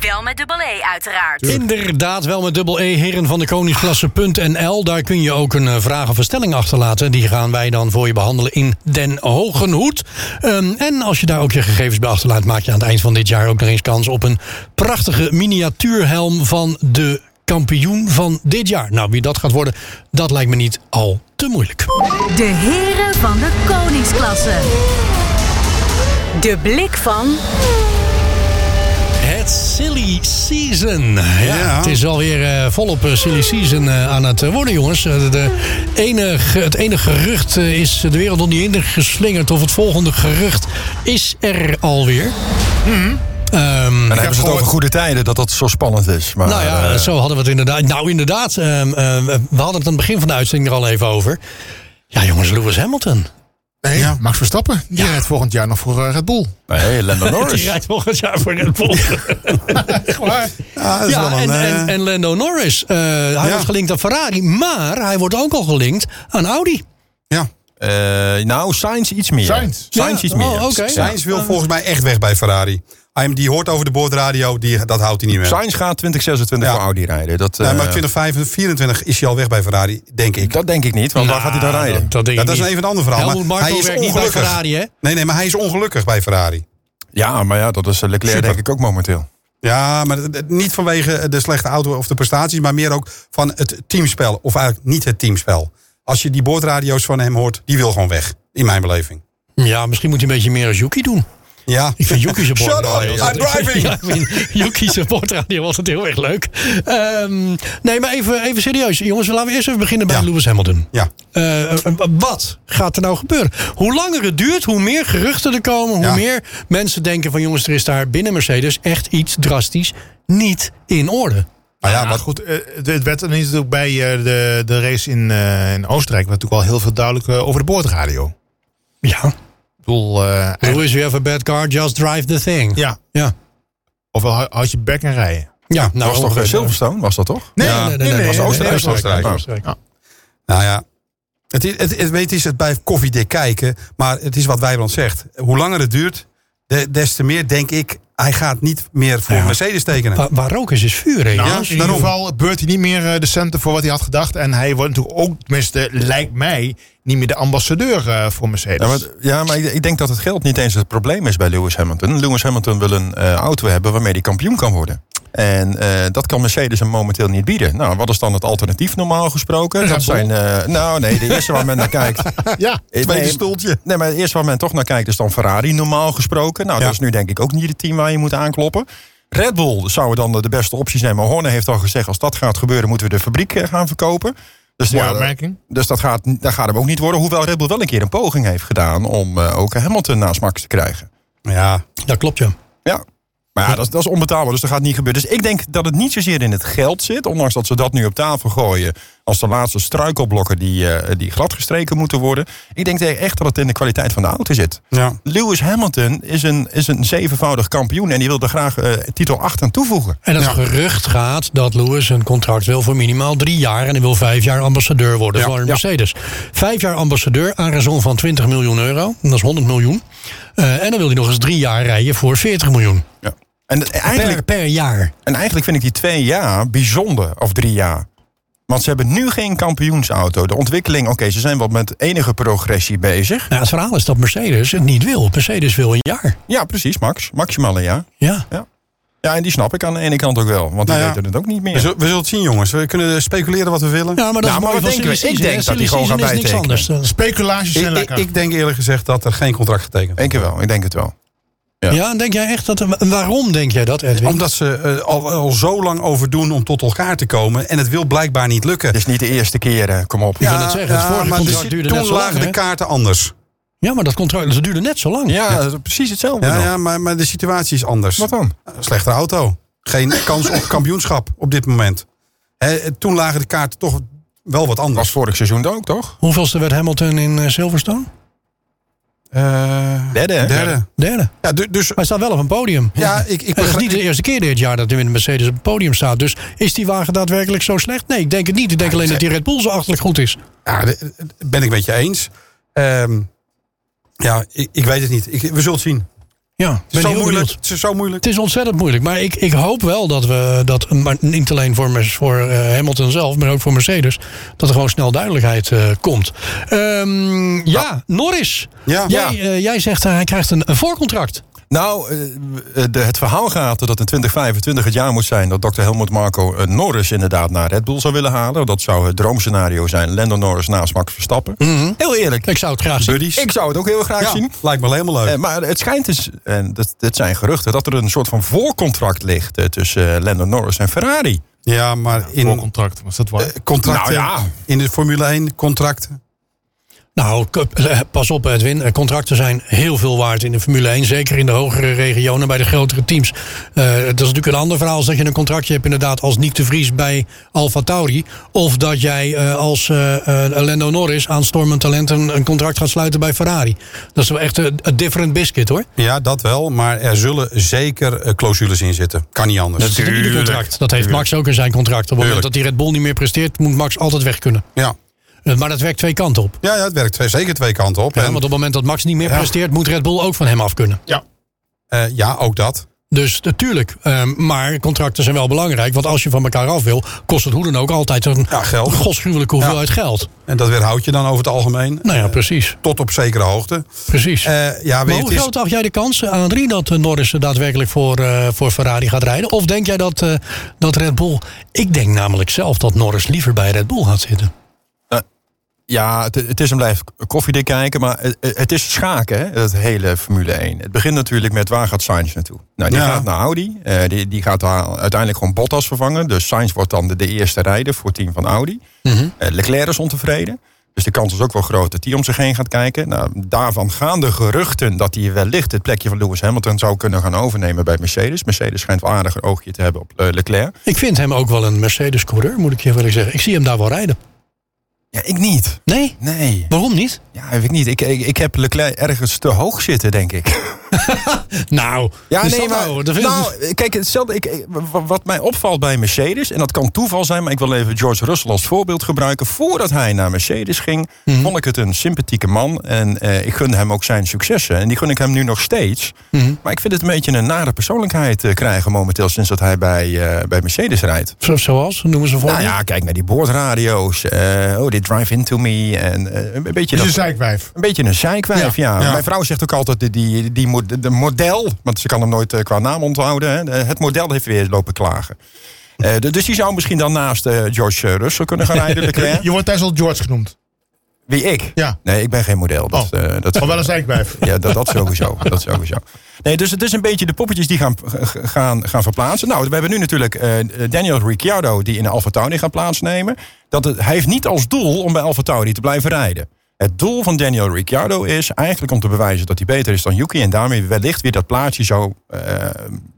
Speaker 5: Wel met dubbel E uiteraard.
Speaker 1: Inderdaad, wel met dubbel E, heren van de koningsklasse.nl. Daar kun je ook een eh, vraag of een stelling achterlaten. Die gaan wij dan voor je behandelen in Den Hogenhoed. Ehm, en als je daar ook je gegevens bij achterlaat... maak je aan het eind van dit jaar ook nog eens kans op een prachtige miniatuurhelm van de kampioen van dit jaar. Nou, wie dat gaat worden, dat lijkt me niet al te moeilijk.
Speaker 5: De heren van de koningsklasse. De blik van
Speaker 1: Het Silly Season. Ja,
Speaker 4: Ja.
Speaker 1: Het is alweer eh, volop eh, Silly Season eh, aan het eh, worden, jongens. Eh, de- de enige, het enige gerucht eh, is de wereld nog niet in geslingerd. Of het volgende gerucht is er alweer.
Speaker 4: Ah,
Speaker 1: Ehm,
Speaker 2: En dan hebben ze het
Speaker 3: gehoord-
Speaker 2: over goede tijden, dat dat zo spannend is. Maar,
Speaker 1: nou ja,
Speaker 2: eh,
Speaker 1: zo hadden we het inderdaad. Nou, inderdaad. ehm, ehm, we hadden het aan het begin van de uitzending er al even over. Ja, jongens, Lewis Hamilton.
Speaker 3: Nee, Max Verstappen. Die rijdt volgend jaar nog voor eh, Red Bull.
Speaker 2: nee, Lando
Speaker 1: Die
Speaker 2: Norris.
Speaker 1: rijdt volgend jaar voor Red Bull.
Speaker 4: Ja, dat is wel
Speaker 1: Ja, en,
Speaker 4: een, eh,
Speaker 1: en, en Lando Norris. eh, hij
Speaker 4: Ja.
Speaker 1: wordt gelinkt aan Ferrari, maar hij wordt ook al gelinkt aan Audi.
Speaker 4: ja.
Speaker 2: Eh, nou, Sainz iets meer.
Speaker 3: Sainz?
Speaker 2: Sainz
Speaker 1: Ja,
Speaker 2: iets meer.
Speaker 1: oh, oké.
Speaker 2: Sainz-
Speaker 4: Sainz wil volgens mij echt weg bij Ferrari. Hij hem- die hoort over de boordradio, die, dat houdt hij niet meer.
Speaker 2: Sainz gaat 2026
Speaker 4: Ja.
Speaker 2: voor Audi rijden. Dat,
Speaker 4: Nee,
Speaker 2: eh,
Speaker 4: maar 2024 is hij al weg bij Ferrari, denk ik.
Speaker 2: dat denk ik niet, want waar gaat hij dan rijden?
Speaker 1: Ah, denk
Speaker 4: Ja,
Speaker 1: ik
Speaker 4: dat is
Speaker 1: niet.
Speaker 4: een even een ander verhaal.
Speaker 1: Helmut
Speaker 4: maar
Speaker 1: Marko
Speaker 4: hij is
Speaker 1: werkt niet bij
Speaker 4: ongelukkig.
Speaker 1: Ferrari, hè?
Speaker 4: Nee, nee, maar hij is ongelukkig bij Ferrari.
Speaker 2: Ja, maar ja, dat is eh, Leclerc
Speaker 4: Super.
Speaker 2: denk ik ook momenteel.
Speaker 4: Ja, maar dat- dat- niet vanwege de slechte auto of de prestaties, maar meer ook van het teamspel. Of eigenlijk niet het teamspel. Als je die boordradio's van hem hoort, die wil gewoon weg. In mijn beleving.
Speaker 1: Ja, misschien moet hij een beetje meer als Yuki doen.
Speaker 4: Ja.
Speaker 1: Ik vind Yuki's
Speaker 4: Shut up,
Speaker 1: supportradio.
Speaker 4: I'm driving!
Speaker 1: Ja, ik vind Yuki's supportradio was het heel erg leuk. Ehm, nee, maar even, even serieus. Jongens, laten we eerst even beginnen bij
Speaker 4: Ja.
Speaker 1: Lewis Hamilton.
Speaker 4: Ja.
Speaker 1: Eh, eh, wat gaat er nou gebeuren? Hoe langer het duurt, hoe meer geruchten er komen, hoe
Speaker 4: Ja.
Speaker 1: meer mensen denken van jongens, er is daar binnen Mercedes echt iets drastisch niet in orde.
Speaker 4: Maar ja,
Speaker 3: Ja,
Speaker 4: wat
Speaker 3: maar
Speaker 4: goed.
Speaker 3: goed, eh, het het werd er natuurlijk bij eh, de, de race in, eh, in Oostenrijk... werd natuurlijk al heel veel duidelijk eh, over de boordradio. Ik
Speaker 1: Ja.
Speaker 3: bedoel, eh, eigenlijk-
Speaker 1: Lewis, you have a bad car, just drive the thing.
Speaker 3: ja,
Speaker 1: Ja,
Speaker 3: ofwel hou- houd je bek en rijden.
Speaker 1: ja nou,
Speaker 2: was toch eh,
Speaker 1: ongeveer-
Speaker 2: Silverstone, was dat toch?
Speaker 1: Nee,
Speaker 4: Ja,
Speaker 1: nee, nee, nee,
Speaker 2: was
Speaker 1: nee,
Speaker 2: Oostenrijk.
Speaker 1: nee,
Speaker 4: Oostenrijk.
Speaker 1: Oostenrijk.
Speaker 4: Nou ja. Het is, het, het, weet is het bij koffiedik kijken, maar het is wat Wijbrand zegt. Hoe langer het duurt, de- des te meer denk ik, hij gaat niet meer voor Mercedes tekenen.
Speaker 1: Wa- Waar rook is, is vuur, hè?
Speaker 3: Nou,
Speaker 1: jongens?
Speaker 3: in ieder geval beurt hij niet meer eh, de centen voor wat hij had gedacht. En hij wordt natuurlijk ook, tenminste lijkt mij... niet meer de ambassadeur eh, voor
Speaker 2: Ja,
Speaker 3: Mercedes.
Speaker 2: maar, ja, maar ik, ik denk dat het geld niet eens het probleem is bij Lewis Hamilton. Lewis Hamilton wil een eh, auto hebben waarmee hij kampioen kan worden. En eh, dat kan Mercedes hem momenteel niet bieden. Nou, wat is dan het alternatief normaal gesproken? Dat zijn, eh, nou nee, de eerste waar men naar kijkt.
Speaker 3: ja,
Speaker 2: nee,
Speaker 4: stoeltje.
Speaker 2: Nee, maar het eerste waar men toch naar kijkt is dan Ferrari normaal gesproken. Nou, dat is nu denk ik ook niet het team waar je moet aankloppen. Red Bull zou dan de beste optie zijn. Maar Horner heeft al gezegd, als dat gaat gebeuren moeten we de fabriek eh, gaan verkopen. Dus
Speaker 3: mooie
Speaker 2: ja,
Speaker 3: opmerking.
Speaker 2: dus dat gaat, dat gaat hem ook niet worden. Hoewel Red Bull wel een keer een poging heeft gedaan om eh, ook Hamilton naast Max te krijgen.
Speaker 4: Ja,
Speaker 1: Dat klopt, ja.
Speaker 2: Ja. Maar ja, dat, is- dat is onbetaalbaar, dus dat gaat niet gebeuren. Dus ik denk dat het niet zozeer in het geld zit. Ondanks dat ze dat nu op tafel gooien. Als de laatste struikelblokken die, eh, die gladgestreken moeten worden. Ik denk echt dat het in de kwaliteit van de auto zit.
Speaker 4: ja.
Speaker 2: Lewis Hamilton is een, is een zevenvoudig kampioen. En die wil er graag eh, titel 8 aan toevoegen.
Speaker 1: En het gerucht gaat dat Lewis een contract wil voor minimaal drie jaar. En hij wil vijf jaar ambassadeur worden voor Mercedes. Vijf jaar ambassadeur aan raison van 20 miljoen euro. Dat is 100 miljoen. Eh, en dan wil hij nog eens drie jaar rijden voor 40 miljoen.
Speaker 2: Ja. En, het- eigenlijk,
Speaker 1: Per, per jaar.
Speaker 2: en eigenlijk vind ik die twee jaar bijzonder. Of drie jaar. Want ze hebben nu geen kampioensauto. De ontwikkeling, oké, ze zijn wat met enige progressie bezig.
Speaker 1: Nou, het verhaal is dat Mercedes het niet wil. Mercedes wil een jaar.
Speaker 2: Ja, precies, Max. Maximaal een jaar.
Speaker 1: Ja.
Speaker 2: Ja. ja, en die snap ik aan de ene kant ook wel. Want die
Speaker 4: Nou ja.
Speaker 2: weten het ook niet
Speaker 4: We,
Speaker 2: meer.
Speaker 4: zul- we zullen het zien jongens. We kunnen speculeren wat we willen.
Speaker 1: Ja, maar dat
Speaker 2: Nou,
Speaker 1: is
Speaker 2: maar
Speaker 1: mooi
Speaker 2: wat
Speaker 1: van
Speaker 2: denken we?
Speaker 1: silly
Speaker 2: Ik
Speaker 1: season,
Speaker 2: denk
Speaker 1: hè?
Speaker 2: dat hij
Speaker 1: Silly
Speaker 2: gewoon
Speaker 1: season
Speaker 2: gaat
Speaker 1: is niks anders.
Speaker 2: bijtekenen.
Speaker 3: Speculaties zijn
Speaker 4: ik, ik,
Speaker 3: lekker.
Speaker 4: ik denk eerlijk gezegd dat er geen contract getekend wordt.
Speaker 2: Eén keer wel, ik denk het wel.
Speaker 1: ja.
Speaker 2: Ja.
Speaker 1: en denk jij echt dat... en Waarom denk jij dat, Edwin?
Speaker 4: Omdat ze eh, al, al zo lang over doen om tot elkaar te komen. En het wil blijkbaar niet lukken.
Speaker 2: Het is niet de eerste keer, eh, kom op.
Speaker 1: wil net zeggen, het vorige contract
Speaker 4: dus
Speaker 1: duurde
Speaker 4: toen
Speaker 1: net zo lang,
Speaker 4: lagen de
Speaker 1: hè?
Speaker 4: kaarten anders.
Speaker 1: Ja, maar dat contract dat duurde net zo lang.
Speaker 2: Ja, het is precies hetzelfde.
Speaker 4: Ja,
Speaker 2: nog.
Speaker 4: ja maar, maar de situatie is anders.
Speaker 2: Wat dan?
Speaker 4: Slechte auto. Geen kans op kampioenschap op dit moment. Hè, toen lagen de kaarten toch wel wat
Speaker 2: Was
Speaker 4: anders.
Speaker 2: vorig seizoen ook, toch?
Speaker 1: Hoeveelste werd Hamilton in eh, Silverstone?
Speaker 2: Derde, hè?
Speaker 4: Eh, Derde.
Speaker 1: Derde.
Speaker 4: Ja, du- dus
Speaker 1: Hij staat wel op een podium.
Speaker 4: ja, ik, ik
Speaker 1: Het is
Speaker 4: begrijp-
Speaker 1: niet de eerste keer dit jaar dat hij met een Mercedes op het podium staat. Dus is die wagen daadwerkelijk zo slecht? Nee, ik denk het niet. Ik denk alleen dat die Red Bull zo achterlijk goed is.
Speaker 4: Ja, de- de- ben ik met je eens. Ehm, ja, ik, ik weet het niet. Ik, we zullen het zien.
Speaker 1: Ja, ben
Speaker 4: Het is,
Speaker 1: heel
Speaker 4: zo moeilijk,
Speaker 1: benieuwd.
Speaker 4: het is zo moeilijk.
Speaker 1: Het is ontzettend moeilijk. Maar ik, ik hoop wel dat we dat, maar niet alleen voor, Mer- voor eh, Hamilton zelf, maar ook voor Mercedes, dat er gewoon snel duidelijkheid eh, komt. Ehm, ja, Norris.
Speaker 4: Ja.
Speaker 1: jij, eh, jij zegt eh, hij krijgt een, een voorcontract.
Speaker 2: Nou, eh, eh, de, het verhaal gaat dat in 2025 het jaar moet zijn dat Dr. Helmut Marco eh, Norris inderdaad naar Red Bull zou willen halen. Dat zou het droomscenario zijn. Lando Norris naast Max Verstappen. Heel eerlijk.
Speaker 1: Ik zou het graag zien.
Speaker 4: Buddies.
Speaker 2: Ik zou het ook heel graag zien.
Speaker 4: lijkt me wel helemaal leuk.
Speaker 2: Eh, maar het schijnt dus, en dat, dit zijn geruchten, dat er een soort van voorcontract ligt eh, tussen eh, Lando Norris en Ferrari.
Speaker 4: ja, maar
Speaker 3: Voor
Speaker 4: in
Speaker 3: contract, was dat waar?
Speaker 4: contracten,
Speaker 2: Nou ja.
Speaker 4: in de Formule 1 contracten.
Speaker 1: Nou, k- eh, pas op Edwin. Eh, Contracten zijn heel veel waard in de Formule 1. Zeker in de hogere regionen bij de grotere teams. Eh, dat is natuurlijk een ander verhaal als dat je een contractje hebt inderdaad als Nick de Vries bij Alfa Tauri. Of dat jij eh, als eh eh, Lando Norris aan stormend talent een, een contract gaat sluiten bij Ferrari. Dat is wel echt een een different biscuit hoor.
Speaker 4: Ja, dat wel. Maar er zullen zeker eh, clausules in zitten. Kan niet anders.
Speaker 1: Dat zit in ieder contract. Dat heeft Max ook in zijn contract. Op het moment dat die Red Bull niet meer presteert moet Max altijd weg kunnen.
Speaker 4: Ja.
Speaker 1: Eh, Maar dat werkt twee kanten op.
Speaker 4: Ja, ja, het werkt twee, zeker twee kanten op.
Speaker 1: Ja,
Speaker 4: en,
Speaker 1: want op het moment dat Max niet meer presteert, moet Red Bull ook van hem af kunnen.
Speaker 3: Ja.
Speaker 4: eh, ja, ook dat.
Speaker 1: Dus natuurlijk. ehm, maar contracten zijn wel belangrijk. Want als je van elkaar af wil, kost het hoe dan ook altijd een
Speaker 4: Ja, geld.
Speaker 1: godschuwelijke hoeveelheid geld.
Speaker 4: En dat weerhoud je dan over het algemeen.
Speaker 1: Nou ja, precies.
Speaker 4: Tot op zekere hoogte.
Speaker 1: precies.
Speaker 4: Eh, ja,
Speaker 1: maar
Speaker 4: weet je,
Speaker 1: hoe
Speaker 4: het is-
Speaker 1: groot acht jij de kans, Adrie, dat eh, Norris er daadwerkelijk voor, eh, voor Ferrari gaat rijden? Of denk jij dat, eh, dat Red Bull... Ik denk namelijk zelf dat Norris liever bij Red Bull gaat zitten.
Speaker 2: Ja, het, het is een blijf koffiedik kijken, maar het, het is schaken, hè, dat hele Formule 1. Het begint natuurlijk met waar gaat Sainz naartoe? Nou, die
Speaker 4: Ja.
Speaker 2: gaat naar Audi. eh, die, die gaat daar uiteindelijk gewoon Bottas vervangen. Dus Sainz wordt dan de, de eerste rijder voor het team van Audi. Eh, Leclerc is ontevreden. Dus de kans is ook wel groot dat hij om zich heen gaat kijken. Nou, daarvan gaan de geruchten dat hij wellicht het plekje van Lewis Hamilton zou kunnen gaan overnemen bij Mercedes. Mercedes schijnt wel aardig een oogje te hebben op eh, Leclerc.
Speaker 1: Ik vind hem ook wel een Mercedes-coureur, moet ik je wel zeggen. Ik zie hem daar wel rijden.
Speaker 2: Ja, ik niet.
Speaker 1: Nee?
Speaker 2: Nee,
Speaker 1: Waarom niet?
Speaker 2: ja, weet ik niet. Ik, ik, ik heb Leclerc ergens te hoog zitten, denk ik.
Speaker 1: Nou,
Speaker 2: Ja,
Speaker 1: is
Speaker 2: nee,
Speaker 1: dat
Speaker 2: maar.
Speaker 1: nou? Dat vind ik-
Speaker 2: nou, kijk, hetzelfde, ik, ik- wa- wat mij opvalt bij Mercedes, en dat kan toeval zijn, maar ik wil even George Russell als voorbeeld gebruiken. Voordat hij naar Mercedes ging,
Speaker 1: Mhm.
Speaker 2: vond ik het een sympathieke man. En eh, ik gunde hem ook zijn successen. En die gun ik hem nu nog steeds.
Speaker 1: Mhm.
Speaker 2: Maar ik vind het een beetje een nare persoonlijkheid eh, krijgen momenteel sinds dat hij bij, eh, bij Mercedes rijdt.
Speaker 1: Zo- Zoals, noemen ze voor.
Speaker 2: Nou ja, kijk naar die boordradio's. eh, oh, dit drive into me. En eh, een beetje
Speaker 3: Dus
Speaker 2: dat
Speaker 3: een zeikwijf.
Speaker 2: een beetje een zeikwijf, ja. Mijn vrouw zegt ook altijd, die, die, die mo- de model... want ze kan hem nooit eh, qua naam onthouden... Hè, de- het model heeft weer lopen klagen. Eh, de- dus die zou misschien dan naast eh, George eh, Russell kunnen gaan rijden, Leclerc.
Speaker 3: Je wordt thuis al George genoemd.
Speaker 2: Wie, ik?
Speaker 3: Ja.
Speaker 2: Nee, ik ben geen model. Dat,
Speaker 3: Oh.
Speaker 2: eh, dat,
Speaker 3: Maar wel een zeikwijf.
Speaker 2: ja, dat, dat sowieso. Dat sowieso. Nee, dus het is een beetje de poppetjes die gaan, g- gaan, gaan verplaatsen. Nou, we hebben nu natuurlijk eh, Daniel Ricciardo die in AlphaTauri gaat plaatsnemen. Dat het, hij heeft niet als doel om bij AlphaTauri te blijven rijden. Het doel van Daniel Ricciardo is eigenlijk om te bewijzen dat hij beter is dan Yuki. En daarmee wellicht weer dat plaatsje zou eh,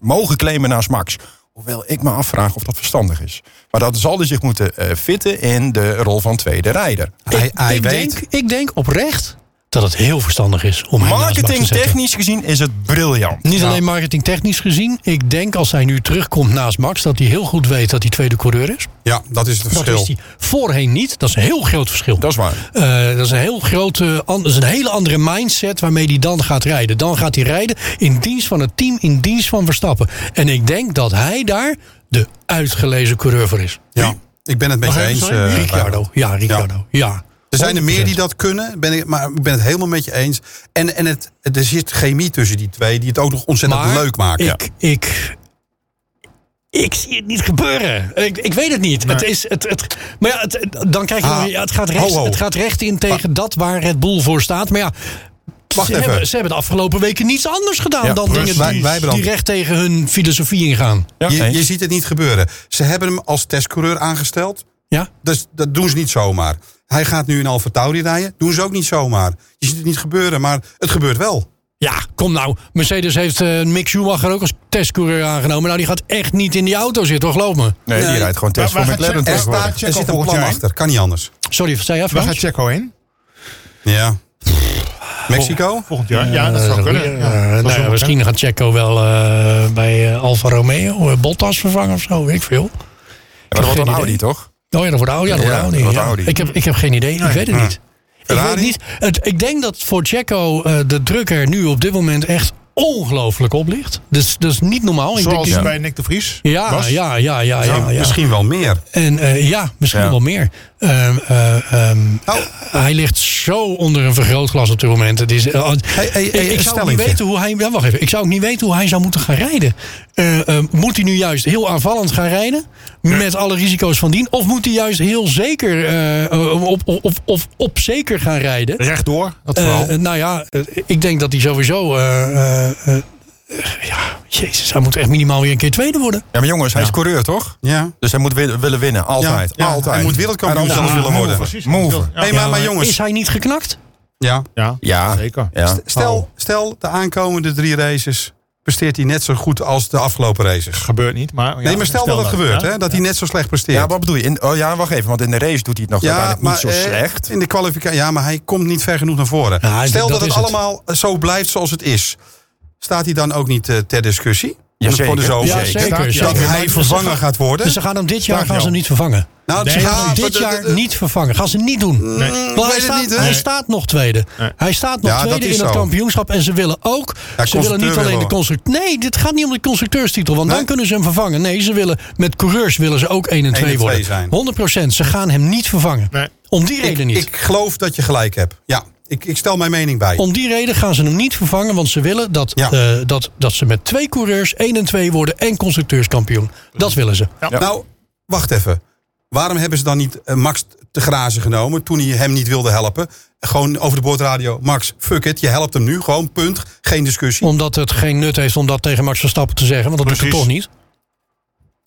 Speaker 2: mogen claimen naast Max. Hoewel ik me afvraag of dat verstandig is. Maar dat zal hij zich moeten eh, fitten in de rol van tweede rijder.
Speaker 4: Hij, hij
Speaker 1: ik,
Speaker 4: weet.
Speaker 1: denk, ik denk oprecht dat het heel verstandig is om hem naast Max te zetten.
Speaker 2: Marketingtechnisch gezien is het briljant.
Speaker 1: Niet
Speaker 4: Nou.
Speaker 1: alleen marketingtechnisch gezien. Ik denk als hij nu terugkomt naast Max... dat hij heel goed weet dat hij tweede coureur is.
Speaker 4: Ja, dat is het verschil.
Speaker 1: Dat is hij voorheen niet. Dat is een heel groot verschil.
Speaker 2: Dat is waar.
Speaker 1: Eh, dat is een heel grote, an- dat is een hele andere mindset waarmee hij dan gaat rijden. Dan gaat hij rijden in dienst van het team, in dienst van Verstappen. En ik denk dat hij daar de uitgelezen coureur voor is.
Speaker 4: Ja, ik ben het met
Speaker 1: Mag
Speaker 4: je
Speaker 1: ik even
Speaker 4: eens.
Speaker 1: zeggen?
Speaker 4: eh,
Speaker 1: Ricciardo. Ja, Ricciardo. Ja.
Speaker 4: Er zijn er meer die dat kunnen, ben ik, maar ik ben het helemaal met je eens. En, en het, er zit chemie tussen die twee die het ook nog ontzettend
Speaker 1: Maar
Speaker 4: leuk maken.
Speaker 1: Ik, ik, ik zie het niet gebeuren. Ik, ik weet het niet. Het is, het, het, maar ja, het, het- dan krijg je.
Speaker 4: Ah,
Speaker 1: ja, het, gaat recht,
Speaker 4: ho, ho.
Speaker 1: het gaat recht in tegen dat waar Red Bull voor staat. Maar ja.
Speaker 4: Wacht
Speaker 1: ze,
Speaker 4: even.
Speaker 1: Hebben, ze hebben de afgelopen weken niets anders gedaan
Speaker 4: Ja,
Speaker 1: dan
Speaker 4: precies.
Speaker 1: dingen die,
Speaker 4: Wij- wij branden.
Speaker 1: die recht tegen hun filosofie ingaan.
Speaker 2: Ja,
Speaker 4: je,
Speaker 2: eens.
Speaker 4: je ziet het niet gebeuren. Ze hebben hem als testcoureur aangesteld.
Speaker 1: Ja?
Speaker 4: Dus dat doen ze niet zomaar. Hij gaat nu in Alfa Tauri rijden. Doen ze ook niet zomaar. Je ziet het niet gebeuren, maar het gebeurt wel.
Speaker 1: Ja, kom nou. Mercedes heeft eh, Mick Schumacher ook als testcoureur aangenomen. Nou, die gaat echt niet in die auto zitten, hoor, geloof me.
Speaker 2: Nee,
Speaker 4: Nee.
Speaker 2: die rijdt gewoon test
Speaker 3: Maar-
Speaker 2: voor
Speaker 3: maar gaat Jack-
Speaker 2: McLaren
Speaker 4: Er,
Speaker 3: Echt waar?
Speaker 2: tegenwoordig.
Speaker 4: staat, er zit
Speaker 3: Checo
Speaker 4: een
Speaker 3: volgend
Speaker 4: plan
Speaker 3: jaar?
Speaker 4: achter. Kan niet anders.
Speaker 1: Sorry, wat zei jij,
Speaker 3: Waar
Speaker 1: Frans?
Speaker 3: gaat Checo heen?
Speaker 4: Ja. Mexico?
Speaker 3: Volgend jaar? Ja, dat zou kunnen.
Speaker 1: Eh,
Speaker 3: Ja, dat zou
Speaker 1: nou ja,
Speaker 3: kunnen.
Speaker 1: misschien gaat Checo wel eh, bij eh, Alfa Romeo eh, Bottas vervangen of zo, weet ik veel.
Speaker 2: Maar dat wordt
Speaker 1: geen
Speaker 2: een
Speaker 1: idee.
Speaker 2: Audi, toch?
Speaker 1: Oh ja, dat wordt Audi. Ja, dat wordt
Speaker 2: Ja,
Speaker 1: Audi,
Speaker 2: dat wordt
Speaker 1: ja.
Speaker 2: Audi.
Speaker 1: Ik, heb, ik heb geen idee, ik weet het niet. Ik, weet
Speaker 4: Ferrari?
Speaker 1: niet. Het, ik denk dat voor Checo eh, de druk er nu op dit moment echt ongelooflijk op ligt. Dus dat is niet normaal. Ik
Speaker 3: Zoals
Speaker 1: denk,
Speaker 3: bij Nick de Vries.
Speaker 1: ja,
Speaker 3: was.
Speaker 1: ja, ja, ja, ja, ja.
Speaker 4: Misschien wel meer.
Speaker 1: En eh, ja, misschien
Speaker 2: Ja.
Speaker 1: wel meer. Ehm, eh, ehm,
Speaker 4: Nou.
Speaker 1: hij ligt zo onder een vergrootglas op dit moment. Het is, eh,
Speaker 4: hey, hey,
Speaker 1: ik, ik
Speaker 4: een
Speaker 1: zou ook niet
Speaker 4: stellingje.
Speaker 1: weten hoe hij. ja, wacht even. Ik zou ook niet weten hoe hij zou moeten gaan rijden. Eh, eh, moet hij nu juist heel aanvallend gaan rijden? Met alle risico's van dien? Of moet hij juist heel zeker eh, eh, op, op, op, op, op zeker gaan rijden?
Speaker 3: Rechtdoor, dat
Speaker 1: Eh,
Speaker 3: vooral.
Speaker 1: eh, nou ja, eh, ik denk dat hij sowieso. eh, eh, eh, ja, jezus, hij moet echt minimaal weer een keer tweede worden.
Speaker 2: Ja, maar jongens, hij is coureur, toch?
Speaker 4: Ja.
Speaker 2: Dus hij moet wi- willen winnen, altijd.
Speaker 4: Ja,
Speaker 2: altijd.
Speaker 4: hij moet wereldkampioen
Speaker 2: En anders
Speaker 4: zelfs willen worden.
Speaker 3: Precies.
Speaker 2: Move.
Speaker 4: Hey, maar, maar jongens.
Speaker 1: Is hij niet geknakt?
Speaker 4: Ja.
Speaker 3: Ja,
Speaker 2: Ja,
Speaker 3: zeker.
Speaker 2: Ja.
Speaker 4: Stel, stel de aankomende drie races presteert hij net zo goed als de afgelopen races.
Speaker 3: Gebeurt niet, maar... ja,
Speaker 4: nee, maar stel dat het gebeurt,
Speaker 3: ja.
Speaker 4: hè, dat hij net zo slecht presteert.
Speaker 2: ja, wat bedoel je? In, oh ja, wacht even, want in de race doet hij het nog uiteindelijk niet zo
Speaker 4: eh,
Speaker 2: slecht.
Speaker 4: In de kwalificatie, ja, maar hij komt niet ver genoeg naar voren.
Speaker 1: Ja, hij-
Speaker 4: stel
Speaker 1: dat
Speaker 4: dat, het
Speaker 1: is het.
Speaker 4: allemaal eh, zo blijft zoals het is. Staat hij dan ook niet eh, ter discussie?
Speaker 2: Jazeker.
Speaker 4: Voor de zomer.
Speaker 1: Ja,
Speaker 2: zeker.
Speaker 1: zeker.
Speaker 3: Staat hij
Speaker 4: Dat
Speaker 1: zeker.
Speaker 4: hij
Speaker 1: Maar-
Speaker 4: vervangen gaat worden.
Speaker 1: Dus ze gaan hem dit
Speaker 3: Staat
Speaker 1: jaar gaan ze
Speaker 3: wel.
Speaker 1: hem niet vervangen.
Speaker 4: Nou,
Speaker 3: Nee,
Speaker 4: ze
Speaker 3: helemaal
Speaker 1: Ga
Speaker 4: gaan-
Speaker 3: niet.
Speaker 4: maar
Speaker 1: dit
Speaker 4: de- de-
Speaker 1: jaar
Speaker 4: de-
Speaker 1: niet vervangen. Gaan ze niet doen.
Speaker 3: Nee.
Speaker 1: Maar hij
Speaker 4: weet het
Speaker 1: staat,
Speaker 4: niet, hè?
Speaker 1: hij
Speaker 3: Nee.
Speaker 1: staat nog tweede. Hij staat nog
Speaker 4: Ja, dat
Speaker 1: tweede
Speaker 4: is
Speaker 1: in het
Speaker 4: zo.
Speaker 1: kampioenschap. En ze willen ook.
Speaker 4: Ja,
Speaker 1: ze willen niet
Speaker 4: constructeur
Speaker 1: alleen de
Speaker 4: willen we.
Speaker 1: constructeur. Nee, dit gaat niet om de constructeurstitel. Want
Speaker 4: Nee?
Speaker 1: dan kunnen ze hem vervangen. Nee, ze willen met coureurs willen ze ook 1 en 2
Speaker 4: en twee
Speaker 1: worden.
Speaker 4: zijn.
Speaker 1: 100 Ze gaan hem niet vervangen.
Speaker 3: Nee.
Speaker 1: Om die
Speaker 4: Ik,
Speaker 1: reden niet.
Speaker 4: ik geloof dat je gelijk hebt. Ja, ik, ik stel mijn mening bij.
Speaker 1: Om die reden gaan ze hem niet vervangen. Want ze willen dat,
Speaker 4: Ja.
Speaker 1: eh, dat, dat ze met twee coureurs 1 en 2 worden. En constructeurskampioen. Dat willen ze.
Speaker 3: Ja.
Speaker 4: Nou, wacht even. Waarom hebben ze dan niet eh, Max te grazen genomen toen hij hem niet wilde helpen? Gewoon over de boordradio. Max, fuck it, je helpt hem nu. Gewoon, punt. Geen discussie.
Speaker 1: Omdat het geen nut heeft om dat tegen Max Verstappen te zeggen. Want dat doet
Speaker 3: Precies.
Speaker 1: hij toch niet.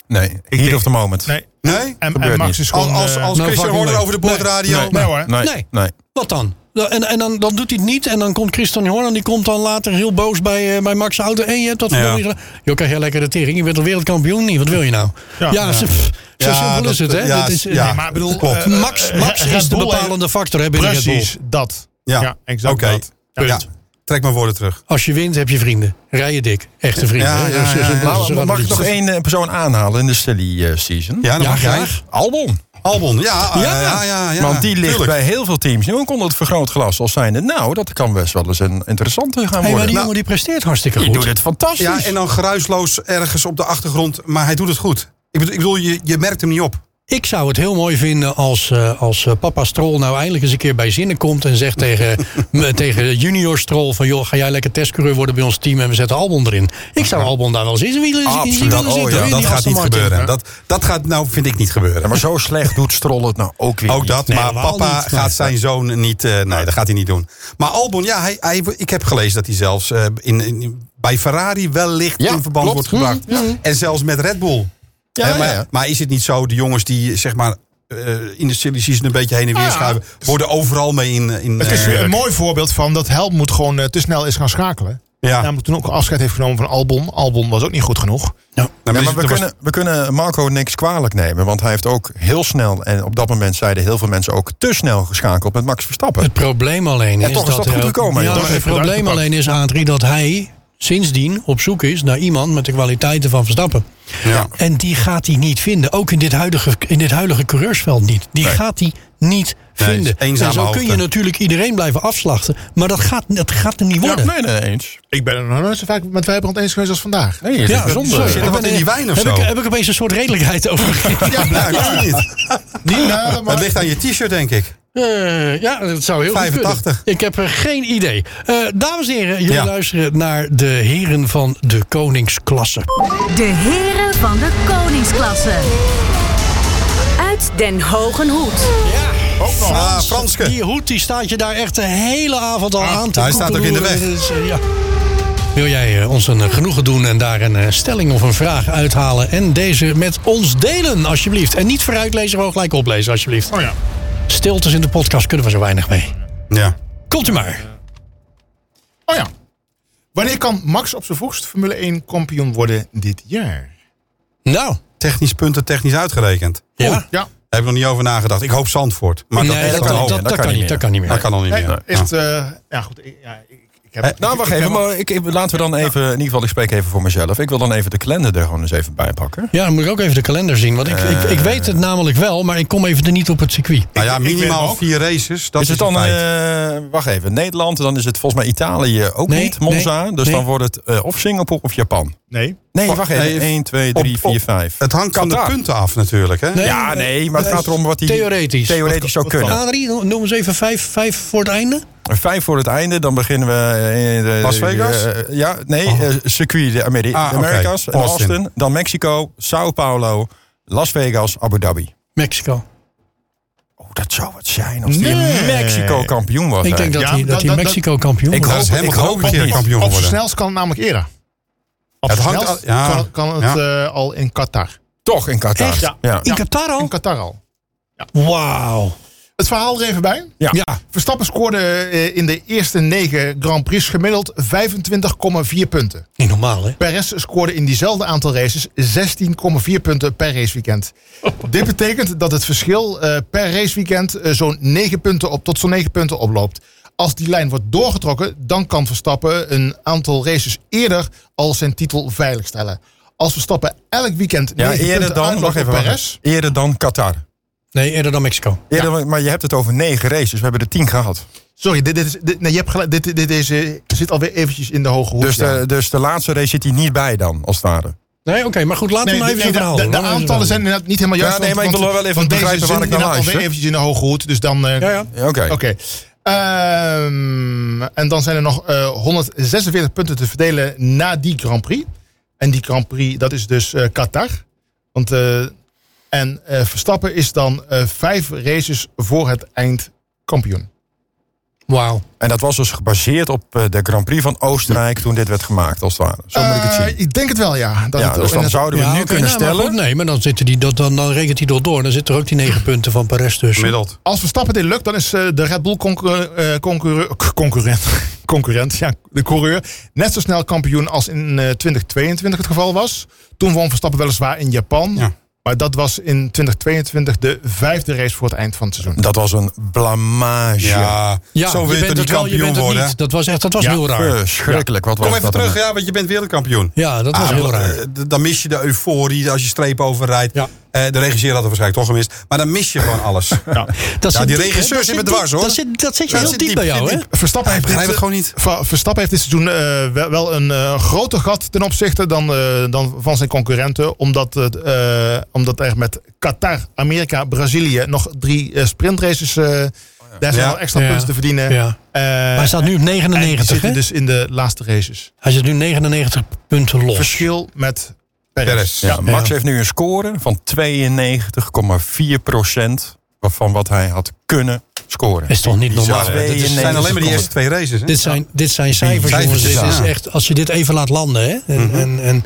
Speaker 2: Nee, heat of the moment.
Speaker 3: Nee.
Speaker 4: Nee?
Speaker 3: En,
Speaker 2: Gebeurt
Speaker 3: en Max
Speaker 2: niet.
Speaker 3: is gewoon...
Speaker 4: Als, als,
Speaker 3: eh,
Speaker 4: als
Speaker 1: no
Speaker 4: Christian
Speaker 1: fucking
Speaker 4: Horner
Speaker 1: way.
Speaker 4: over de boordradio...
Speaker 3: Nee, nee hoor.
Speaker 2: Nee,
Speaker 1: Nou, Nee.
Speaker 2: nee.
Speaker 1: Wat dan? Nou, En, en dan, dan doet hij het niet. En dan komt Christian Horner. Die komt dan later heel boos bij, eh, bij Max Auto. En je hebt dat verdomme
Speaker 4: Ja.
Speaker 1: niet gedaan. Joh, krijg jij lekker de tering. Je bent al wereldkampioen niet. Wat wil je nou? Ja,
Speaker 3: Ja, ja.
Speaker 1: ze- pff, zo
Speaker 4: Ja,
Speaker 1: simpel
Speaker 4: dat-
Speaker 1: is het. Hè?
Speaker 4: ja,
Speaker 1: Dat is, eh,
Speaker 4: ja.
Speaker 3: nee, maar ik bedoel...
Speaker 4: Klopt.
Speaker 3: eh,
Speaker 1: Max, Max
Speaker 3: eh,
Speaker 1: is
Speaker 3: Red
Speaker 1: de
Speaker 3: Bull
Speaker 1: bepalende factor hè, binnen Red Bull.
Speaker 3: Precies, dat.
Speaker 4: Ja.
Speaker 3: Ja, exact
Speaker 4: Oké.
Speaker 3: dat. Ja.
Speaker 4: Ja, trek mijn woorden terug.
Speaker 1: Als je wint, heb je vrienden. Rij je dik. Echte vrienden.
Speaker 4: Ja,
Speaker 1: hè.
Speaker 4: ja,
Speaker 1: Dus-
Speaker 4: ja,
Speaker 1: dus-
Speaker 4: ja.
Speaker 1: dus-
Speaker 2: Nou,
Speaker 1: dus- dus-
Speaker 2: mag ik
Speaker 1: dus-
Speaker 2: nog één eh, persoon aanhalen in de silly eh, season?
Speaker 4: Ja, dan
Speaker 1: Ja,
Speaker 4: mag jij.
Speaker 1: graag.
Speaker 2: Albon.
Speaker 4: Albon, ja.
Speaker 2: Ah,
Speaker 4: eh,
Speaker 1: Ja.
Speaker 4: Ja, ja, ja,
Speaker 2: Want die ligt
Speaker 4: Tuurlijk.
Speaker 2: bij heel veel teams nu ook onder het vergrootglas als zijnde. Nou, dat kan best wel eens een interessante gaan
Speaker 1: Hey, maar
Speaker 2: worden.
Speaker 1: die
Speaker 2: Nou,
Speaker 1: jongen die presteert hartstikke
Speaker 2: die doet
Speaker 1: goed.
Speaker 2: het fantastisch.
Speaker 4: Ja, en dan geruisloos ergens op de achtergrond. Maar hij doet het goed. Ik bedoel, ik bedoel je, je merkt hem niet op.
Speaker 1: Ik zou het heel mooi vinden als, eh, als eh, papa Strol nou eindelijk eens een keer bij zinnen komt en zegt tegen, me- tegen junior Strol van joh, ga jij lekker testcoureur worden bij ons team en we zetten Albon erin. Ik zou Albon daar wel eens in zijn wielen in zijn
Speaker 4: Absoluut.
Speaker 1: wielen
Speaker 4: Oh,
Speaker 1: zitten, hoor,
Speaker 4: ja,
Speaker 1: in
Speaker 4: dat
Speaker 1: die
Speaker 4: gaat
Speaker 1: Aston
Speaker 4: niet
Speaker 1: Martin.
Speaker 4: gebeuren. Dat, dat gaat, nou, vind ik niet
Speaker 2: Ja,
Speaker 4: gebeuren.
Speaker 2: maar zo slecht doet Stroll het nou ook weer
Speaker 4: Ook
Speaker 2: niet.
Speaker 4: dat, maar
Speaker 1: helemaal
Speaker 4: papa
Speaker 1: niet.
Speaker 4: gaat zijn zoon niet... eh, nee, dat gaat hij niet doen. Maar Albon, ja, hij, hij, ik heb gelezen dat hij zelfs eh, in, in- bij Ferrari wellicht
Speaker 2: Ja,
Speaker 4: in verband
Speaker 2: klopt.
Speaker 4: wordt gebracht. En zelfs met Red Bull.
Speaker 2: Ja,
Speaker 4: Hè, maar,
Speaker 2: ja.
Speaker 4: maar is het niet zo, de jongens die zeg maar... eh, in de silly season een beetje heen en weer
Speaker 3: Ah, ja.
Speaker 4: schuiven... worden overal mee in... in
Speaker 3: Het is
Speaker 4: eh,
Speaker 3: weer een mooi voorbeeld van dat Helmut gewoon eh, te snel is gaan schakelen.
Speaker 4: Ja.
Speaker 3: Namelijk toen ook afscheid heeft genomen van Albon. Albon was ook niet goed genoeg.
Speaker 4: nou,
Speaker 2: Ja,
Speaker 4: maar
Speaker 2: maar
Speaker 4: is-
Speaker 2: we
Speaker 4: er was-
Speaker 2: kunnen, we kunnen Marco niks kwalijk nemen. Want hij heeft ook heel snel, en op dat moment zeiden heel veel mensen ook te snel geschakeld met Max Verstappen.
Speaker 1: Het probleem alleen
Speaker 2: Ja,
Speaker 1: is
Speaker 2: toch is
Speaker 1: dat,
Speaker 2: dat
Speaker 1: er
Speaker 2: goed
Speaker 1: ook-
Speaker 2: gekomen,
Speaker 1: Ja,
Speaker 2: joh.
Speaker 1: maar
Speaker 3: Dat
Speaker 1: het
Speaker 3: heeft het
Speaker 1: probleem
Speaker 3: uitgepakt.
Speaker 1: alleen is Adrie dat hij sindsdien op zoek is naar iemand met de kwaliteiten van Verstappen.
Speaker 4: Ja.
Speaker 1: En die gaat hij niet vinden. Ook in dit huidige, in dit huidige coureursveld niet. Die gaat hij niet
Speaker 4: Nee,
Speaker 1: vinden.
Speaker 4: het is eenzame
Speaker 1: en zo kun
Speaker 4: hoogte.
Speaker 1: je natuurlijk iedereen blijven afslachten. Maar dat gaat, dat gaat er niet worden.
Speaker 2: nee, nee, eens.
Speaker 3: Ik ben er nog nooit zo vaak met Wijbrand eens geweest als vandaag.
Speaker 2: Nee, het is bijzonder.
Speaker 1: sorry.
Speaker 4: Zit er
Speaker 1: Ik
Speaker 4: wat
Speaker 1: ben-
Speaker 4: in die wijn of
Speaker 1: heb
Speaker 4: zo?
Speaker 1: Ik, heb ik opeens een soort redelijkheid over gekregen?
Speaker 4: Ja, blijkbaar niet.
Speaker 3: Niet nader,
Speaker 4: Het
Speaker 3: maar...
Speaker 4: ligt aan je t-shirt, denk ik.
Speaker 1: Eh, ja, dat zou heel goed kunnen.
Speaker 4: 85.
Speaker 1: Ik heb er geen idee. Eh, dames en heren, jullie
Speaker 4: Ja.
Speaker 1: luisteren naar de heren van de koningsklasse.
Speaker 5: De heren van de koningsklasse. Uit Den Hogen Hoed.
Speaker 4: Ah, Franske.
Speaker 1: Die hoed die staat je daar echt de hele avond al aan te
Speaker 4: hij staat ook in de
Speaker 1: koekeloeren.
Speaker 4: weg.
Speaker 1: Dat is, eh, ja. Wil jij eh, ons een eh, genoegen doen en daar een eh, stelling of een vraag uithalen... en deze met ons delen, alsjeblieft. En niet vooruitlezen, gewoon gelijk oplezen, alsjeblieft.
Speaker 3: Oh ja.
Speaker 1: Stiltes in de podcast kunnen we zo weinig mee.
Speaker 4: Ja.
Speaker 1: Komt u maar.
Speaker 3: Oh ja. Wanneer kan Max op zijn vroegst Formule 1 kampioen worden dit jaar?
Speaker 1: Nou,
Speaker 4: Technisch punten, technisch uitgerekend.
Speaker 1: ja.
Speaker 4: Oeh,
Speaker 3: Ja,
Speaker 4: Daar heb ik nog niet over nagedacht. Ik hoop Zandvoort. Maar dat,
Speaker 1: nee, dat,
Speaker 4: kan,
Speaker 1: kan,
Speaker 4: al,
Speaker 1: dat, dat kan niet, dat kan niet meer.
Speaker 4: dat kan al niet
Speaker 3: nee,
Speaker 4: meer.
Speaker 3: echt... eh, ja, goed. Ik, ja, ik, ik heb,
Speaker 2: Eh, nou, wacht
Speaker 3: ik- ik
Speaker 2: even.
Speaker 3: heb-
Speaker 2: Maar ik, ik- laten we dan even, in ieder geval, ik spreek even voor mezelf. Ik wil dan even de kalender er gewoon eens even bij pakken.
Speaker 1: Ja, dan moet ik ook even de kalender zien. Want ik, ik,
Speaker 4: Eh.
Speaker 1: ik weet het namelijk wel, maar ik kom even er niet op het circuit.
Speaker 4: Nou ja,
Speaker 3: ik- ik weet
Speaker 4: minimaal
Speaker 3: hem
Speaker 4: vier races. Dat
Speaker 2: is
Speaker 4: is,
Speaker 2: het dan,
Speaker 4: een feit.
Speaker 2: eh, wacht even, Nederland, dan is het volgens mij Italië ook
Speaker 1: Nee,
Speaker 2: niet, Monza.
Speaker 1: nee,
Speaker 2: dus
Speaker 1: nee.
Speaker 2: dan wordt het eh, of Singapore of Japan.
Speaker 3: Nee.
Speaker 2: Nee, wacht
Speaker 4: nee,
Speaker 2: even, 1, 2, 3,
Speaker 4: op- op-
Speaker 2: 4, 5.
Speaker 4: Het hangt van de
Speaker 2: Qatar.
Speaker 4: punten af natuurlijk. Hè?
Speaker 1: Nee.
Speaker 2: Ja, nee, maar het gaat erom wat die
Speaker 1: Theoretisch.
Speaker 2: theoretisch zou kunnen.
Speaker 1: Adrie, noem eens even vijf, vijf voor het einde.
Speaker 2: Vijf voor het einde, dan beginnen we... in de-
Speaker 4: Las Vegas? Oh.
Speaker 2: eh, ja, nee, eh, circuit de Ameri-
Speaker 4: Ah, oké.
Speaker 2: Amerika's, en
Speaker 4: Austin.
Speaker 2: Austin. Dan Mexico, Sao Paulo, Las Vegas, Abu Dhabi.
Speaker 1: Mexico.
Speaker 2: Oh, dat zou het zijn als die in Mexico kampioen was.
Speaker 1: Ik denk dat
Speaker 3: Ja,
Speaker 1: hij
Speaker 3: dat-
Speaker 1: dat hij
Speaker 3: dat-
Speaker 1: Mexico kampioen
Speaker 2: Ik
Speaker 1: wordt.
Speaker 4: Dat is
Speaker 2: hoop-
Speaker 4: hem
Speaker 2: ik
Speaker 4: ook
Speaker 2: hoop
Speaker 4: een
Speaker 2: het
Speaker 4: keer
Speaker 2: niet.
Speaker 4: kampioen
Speaker 3: Op zijn
Speaker 4: worden.
Speaker 3: snelst kan het namelijk eerder. Op
Speaker 4: Het
Speaker 3: zijn
Speaker 4: hangt
Speaker 3: snelst
Speaker 4: al- ja.
Speaker 3: kan, kan het eh, al in Qatar.
Speaker 2: Toch in Qatar.
Speaker 1: Echt?
Speaker 2: Ja.
Speaker 1: In Qatar
Speaker 3: In
Speaker 1: al?
Speaker 3: Qatar al.
Speaker 1: Wauw.
Speaker 3: Het verhaal er even bij.
Speaker 2: Ja.
Speaker 1: Ja.
Speaker 3: Verstappen scoorde eh, in de eerste negen Grand Prix gemiddeld 25,4 punten.
Speaker 1: Niet normaal, hè?
Speaker 3: Perez scoorde in diezelfde aantal races 16,4 punten per raceweekend. Dit betekent dat het verschil eh, per raceweekend eh, zo'n 9 punten op, tot zo'n 9 punten oploopt. Als die lijn wordt doorgetrokken, dan kan Verstappen een aantal races eerder al zijn titel veiligstellen. Als Verstappen elk weekend
Speaker 2: Ja,
Speaker 3: 9
Speaker 2: eerder
Speaker 3: punten
Speaker 2: dan,
Speaker 3: uitloopt
Speaker 2: wacht
Speaker 3: op
Speaker 2: even, wacht
Speaker 3: Perez...
Speaker 2: even. Eerder dan Qatar.
Speaker 1: Nee, eerder dan Mexico.
Speaker 2: Ja, dan- Maar je hebt het over negen races. We hebben er tien gehad.
Speaker 3: Sorry, dit, dit is, dit, nee, je hebt gelijk, dit, dit, dit is, eh, zit alweer eventjes in de hoge hoek.
Speaker 2: Dus
Speaker 3: ja.
Speaker 2: de, dus de laatste race zit hij niet bij dan, als het ware.
Speaker 1: Nee, oké, maar goed, laten we
Speaker 3: Nee,
Speaker 2: nou
Speaker 1: maar
Speaker 3: nee, de,
Speaker 1: even zijn verhaal.
Speaker 3: de- de
Speaker 1: doen. Laten we zijn
Speaker 3: aantallen zijn
Speaker 1: verhaal
Speaker 3: inderdaad niet helemaal
Speaker 2: Ja,
Speaker 3: juist.
Speaker 2: nee,
Speaker 3: want-
Speaker 2: maar ik
Speaker 3: want-
Speaker 2: wil wel even
Speaker 3: want deze
Speaker 2: begrijpen waar
Speaker 3: zit
Speaker 2: ik naar
Speaker 3: inderdaad
Speaker 2: luister.
Speaker 3: alweer eventjes in de hoge hoed, dus dan... eh,
Speaker 1: doen. Ja, ja.
Speaker 2: Ja, Oké.
Speaker 3: Oké. Ehm, en dan zijn er nog eh, 146 punten te verdelen na die Grand Prix. En die Grand Prix, dat is dus eh, Qatar. Want, eh, en eh, Verstappen is dan eh, vijf races voor het eind kampioen.
Speaker 1: Wauw.
Speaker 2: En dat was dus gebaseerd op eh, de Grand Prix van Oostenrijk toen dit werd gemaakt, als het ware. Zo moet ik het
Speaker 3: Eh,
Speaker 2: zien.
Speaker 3: ik denk het wel, ja. Dat
Speaker 2: Ja,
Speaker 3: het-
Speaker 2: dus dan
Speaker 3: inderdaad-
Speaker 2: zouden we
Speaker 1: Ja,
Speaker 2: nu
Speaker 1: oké,
Speaker 2: kunnen
Speaker 1: nou, maar
Speaker 2: stellen...
Speaker 1: goed, nee, maar dan, zitten die, dat, dan, dan rekent hij door door. Dan zitten er ook die negen punten van Perez tussen.
Speaker 4: Gemiddeld.
Speaker 3: Als Verstappen dit lukt, dan is eh, de Red Bull concur- eh, concurreur- k- concurrent, concurrent, ja, de coureur, net zo snel kampioen als in eh, 2022 het geval was. Toen won Verstappen weliswaar in Japan,
Speaker 4: Ja.
Speaker 3: maar dat was in 2022 de vijfde race voor het eind van het seizoen.
Speaker 2: Dat was een blamage. Nou,
Speaker 4: Ja,
Speaker 1: Ja,
Speaker 4: zo wil
Speaker 1: je
Speaker 4: je
Speaker 1: bent
Speaker 4: toch niet
Speaker 1: het wel, je
Speaker 4: kampioen
Speaker 1: bent het
Speaker 4: worden?
Speaker 1: niet. Dat was echt, dat was
Speaker 3: Ja,
Speaker 1: heel raar.
Speaker 2: Verschrikkelijk. Wat was
Speaker 4: Kom even
Speaker 2: dat
Speaker 4: terug,
Speaker 2: dan?
Speaker 4: ja, want je bent wereldkampioen.
Speaker 1: Ja, dat was
Speaker 4: Ah,
Speaker 1: heel raar.
Speaker 4: eh, d- Dan mis je de euforie als je streep overrijdt.
Speaker 1: Ja.
Speaker 4: Eh, de regisseur had het waarschijnlijk toch gemist. Maar dan mis je gewoon alles. ja,
Speaker 1: Dat
Speaker 4: Ja,
Speaker 1: zit
Speaker 4: die
Speaker 1: diep,
Speaker 4: regisseur
Speaker 1: hè? Dat
Speaker 4: zit me dwars, hoor.
Speaker 1: Dat zit, dat zit je
Speaker 4: Ja,
Speaker 1: heel
Speaker 4: zit
Speaker 1: diep
Speaker 4: diep,
Speaker 1: bij jou,
Speaker 4: zit
Speaker 1: hè?
Speaker 4: diep.
Speaker 3: Verstappen heeft,
Speaker 4: begrijp
Speaker 3: dit, eh,
Speaker 4: het gewoon niet.
Speaker 3: Va- Verstappen heeft dit seizoen eh, wel, wel een eh, groter gat ten opzichte dan, eh, dan van zijn concurrenten. Omdat, het, eh, omdat er met Qatar, Amerika, Brazilië nog drie eh, sprintraces. eh, Daar zijn
Speaker 4: Ja.
Speaker 3: wel extra
Speaker 1: Ja.
Speaker 3: punten te verdienen.
Speaker 1: Ja.
Speaker 3: Eh,
Speaker 1: Maar hij staat nu op
Speaker 3: en die
Speaker 1: 99, hè?
Speaker 3: zitten dus in de laatste races.
Speaker 1: Hij zit nu 99 punten los.
Speaker 3: Verschil met Perez.
Speaker 4: Perez,
Speaker 2: Ja, Max
Speaker 1: Ja.
Speaker 2: heeft nu een score van 92,4 van wat hij had kunnen scoren.
Speaker 1: Is toch niet normaal?
Speaker 4: eh,
Speaker 2: twee
Speaker 4: dit is-
Speaker 2: en
Speaker 4: zijn
Speaker 2: negen
Speaker 4: alleen maar die
Speaker 2: seconden.
Speaker 4: eerste twee races. Hè?
Speaker 1: Dit zijn, dit zijn cijfers, jongens.
Speaker 4: cijfertjes,
Speaker 1: Dit is
Speaker 4: ja.
Speaker 1: echt, als je dit even laat landen, hè? En, en, en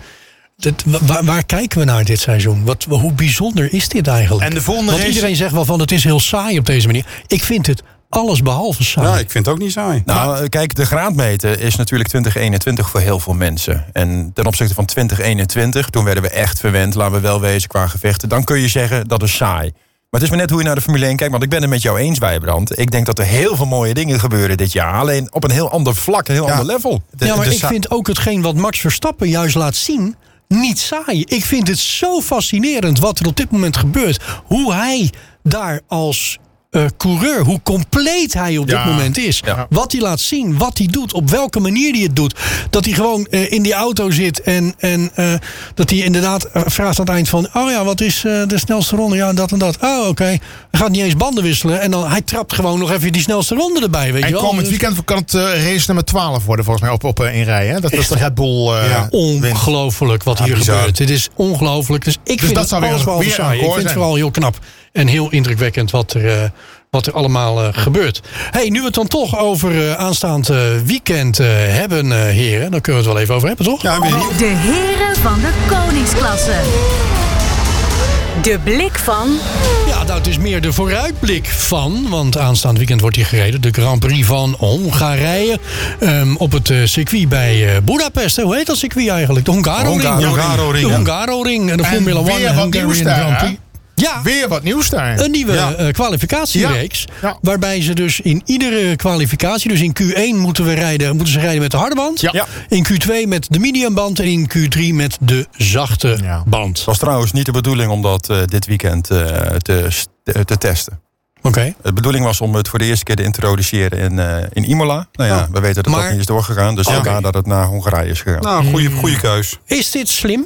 Speaker 1: dit, wa- waar, waar kijken we naar dit seizoen? Wat, hoe bijzonder is dit eigenlijk?
Speaker 3: En de volgende
Speaker 1: Want
Speaker 3: race-
Speaker 1: iedereen zegt wel van het is heel saai op deze manier. Ik vind het alles behalve saai.
Speaker 4: Nou, ik vind het ook niet saai.
Speaker 2: Nou, kijk, de graadmeter is natuurlijk 2021 voor heel veel mensen. En ten opzichte van 2021, toen werden we echt verwend, laten we wel wezen qua gevechten. Dan kun je zeggen dat is saai. Maar het is maar net hoe je naar de Formule 1 kijkt, want ik ben het met jou eens, Wijbrand. Ik denk dat er heel veel mooie dingen gebeuren dit jaar. Alleen op een heel ander vlak, een heel ander level. De-
Speaker 1: ja, maar
Speaker 2: de
Speaker 1: ik
Speaker 2: sa-
Speaker 1: vind ook hetgeen wat Max Verstappen juist laat zien niet saai. Ik vind het zo fascinerend wat er op dit moment gebeurt. Hoe hij daar als eh, coureur, hoe compleet hij op
Speaker 3: Ja.
Speaker 1: dit moment is.
Speaker 3: Ja.
Speaker 1: Wat hij laat zien, wat hij doet, op welke manier hij het doet. Dat hij gewoon eh, in die auto zit en, en eh, dat hij inderdaad eh, vraagt aan het eind van... oh ja, wat is eh, de snelste ronde? Ja, dat en dat. Oh, oké. Hij gaat niet eens banden wisselen. En dan, hij trapt gewoon nog even die snelste ronde erbij, weet
Speaker 3: En
Speaker 1: je wel. dus-
Speaker 3: komend weekend kan het eh, race nummer 12 worden volgens mij op, op één rij. Hè? Dat is de Red Bull eh,
Speaker 4: Ja.
Speaker 3: wint.
Speaker 1: Ongelooflijk wat hier
Speaker 4: bizar.
Speaker 1: gebeurt. Dit is ongelooflijk. Dus ik vind
Speaker 3: dat
Speaker 1: het
Speaker 3: zou weer
Speaker 1: alles
Speaker 3: een-
Speaker 1: wel
Speaker 3: weer een
Speaker 1: saai. Ik
Speaker 3: record
Speaker 1: vind het
Speaker 3: zijn.
Speaker 1: vooral heel knap en heel indrukwekkend wat er, eh, wat er allemaal eh, gebeurt. Hey, nu we het dan toch over eh, aanstaand eh, weekend eh, hebben, eh, heren, dan kunnen we het wel even over hebben, toch?
Speaker 4: Ja, weet je niet.
Speaker 5: De heren van de koningsklasse. De blik van
Speaker 1: Ja, nou, het is meer de vooruitblik van. Want aanstaand weekend wordt hier gereden. De Grand Prix van Hongarije. ehm, op het eh, circuit bij eh Budapest. hè. Hoe heet dat circuit eigenlijk? De Hongaro-ring.
Speaker 4: Hongaroring. Hongaroring,
Speaker 1: De
Speaker 4: ja.
Speaker 1: Hongaroring. En de
Speaker 3: En
Speaker 1: Formula
Speaker 3: weer
Speaker 1: 1 en
Speaker 3: wat
Speaker 1: Hungarian
Speaker 3: nieuws daar,
Speaker 1: Grand
Speaker 3: hè?
Speaker 1: Prix. Ja,
Speaker 3: Weer wat nieuws daar.
Speaker 1: een nieuwe
Speaker 4: Ja.
Speaker 1: eh, kwalificatiereeks.
Speaker 3: Ja. Ja.
Speaker 1: Waarbij ze dus in iedere kwalificatie, dus in Q1 moeten, we rijden, moeten ze rijden met de harde band.
Speaker 3: Ja. Ja.
Speaker 1: In Q2 met de mediumband. En in Q3 met de zachte
Speaker 3: Ja.
Speaker 1: band.
Speaker 2: Het was trouwens niet de bedoeling om dat eh, dit weekend eh, te, st- eh, te testen.
Speaker 1: Oké.
Speaker 2: De bedoeling was om het voor de eerste keer te introduceren in, eh, in Imola. Nou ja,
Speaker 1: Oh.
Speaker 2: we weten dat
Speaker 1: Maar- Oh,
Speaker 2: dat niet is doorgegaan. Dus
Speaker 1: Oké.
Speaker 2: vandaar dat het naar Hongarije is gegaan.
Speaker 4: Nou, goede, goede keus.
Speaker 1: Is dit slim?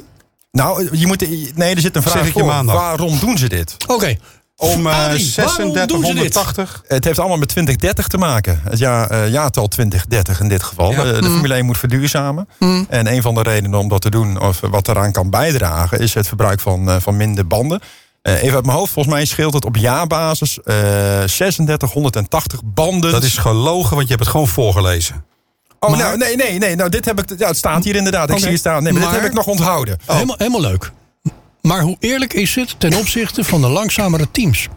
Speaker 2: Nou, je moet. Nee, er zit een
Speaker 4: Zeg
Speaker 2: vraag
Speaker 4: ik je
Speaker 2: voor.
Speaker 4: maandag.
Speaker 2: Waarom doen ze dit?
Speaker 1: Oké.
Speaker 4: Om eh
Speaker 1: Adrie, waarom doen ze dit?
Speaker 4: 3680.
Speaker 2: Het heeft allemaal met 2030 te maken. Het ja, eh, jaartal 2030 in dit geval.
Speaker 4: Ja. Mm.
Speaker 2: Eh, De Formule 1 moet verduurzamen. En een van de redenen om dat te doen, of wat eraan kan bijdragen, is het verbruik van, eh, van minder banden. Eh, even uit mijn hoofd, volgens mij scheelt het op jaarbasis eh 3680 banden.
Speaker 4: Dat is gelogen, want je hebt het gewoon voorgelezen.
Speaker 2: oh,
Speaker 1: maar-
Speaker 2: nou, nee, nee, nee. Nou, dit heb ik, ja, het staat hier inderdaad. Ik
Speaker 1: Oké.
Speaker 2: zie het staan. Nee, maar,
Speaker 1: Maar-
Speaker 2: dit heb ik nog onthouden.
Speaker 1: Helemaal, helemaal leuk. Maar hoe eerlijk is het ten opzichte van de langzamere teams?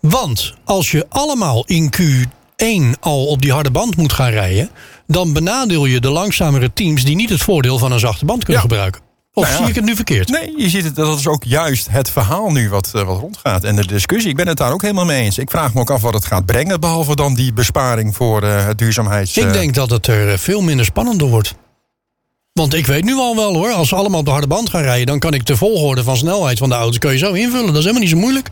Speaker 1: Want als je allemaal in Q1 al op die harde band moet gaan rijden, dan benadeel je de langzamere teams die niet het voordeel van een zachte band kunnen
Speaker 2: Ja.
Speaker 1: gebruiken. Of
Speaker 2: Nou ja.
Speaker 1: zie ik het nu verkeerd?
Speaker 2: Nee, je ziet het, dat is ook juist het verhaal nu wat, eh, wat rondgaat. En de discussie, ik ben het daar ook helemaal mee eens. Ik vraag me ook af wat het gaat brengen, behalve dan die besparing voor eh, het duurzaamheids... eh,
Speaker 1: Ik denk dat het er eh, veel minder spannend door wordt. Want ik weet nu al wel hoor, als ze allemaal op de harde band gaan rijden, dan kan ik de volgorde van snelheid van de auto's kun je zo invullen. Dat is helemaal niet zo moeilijk.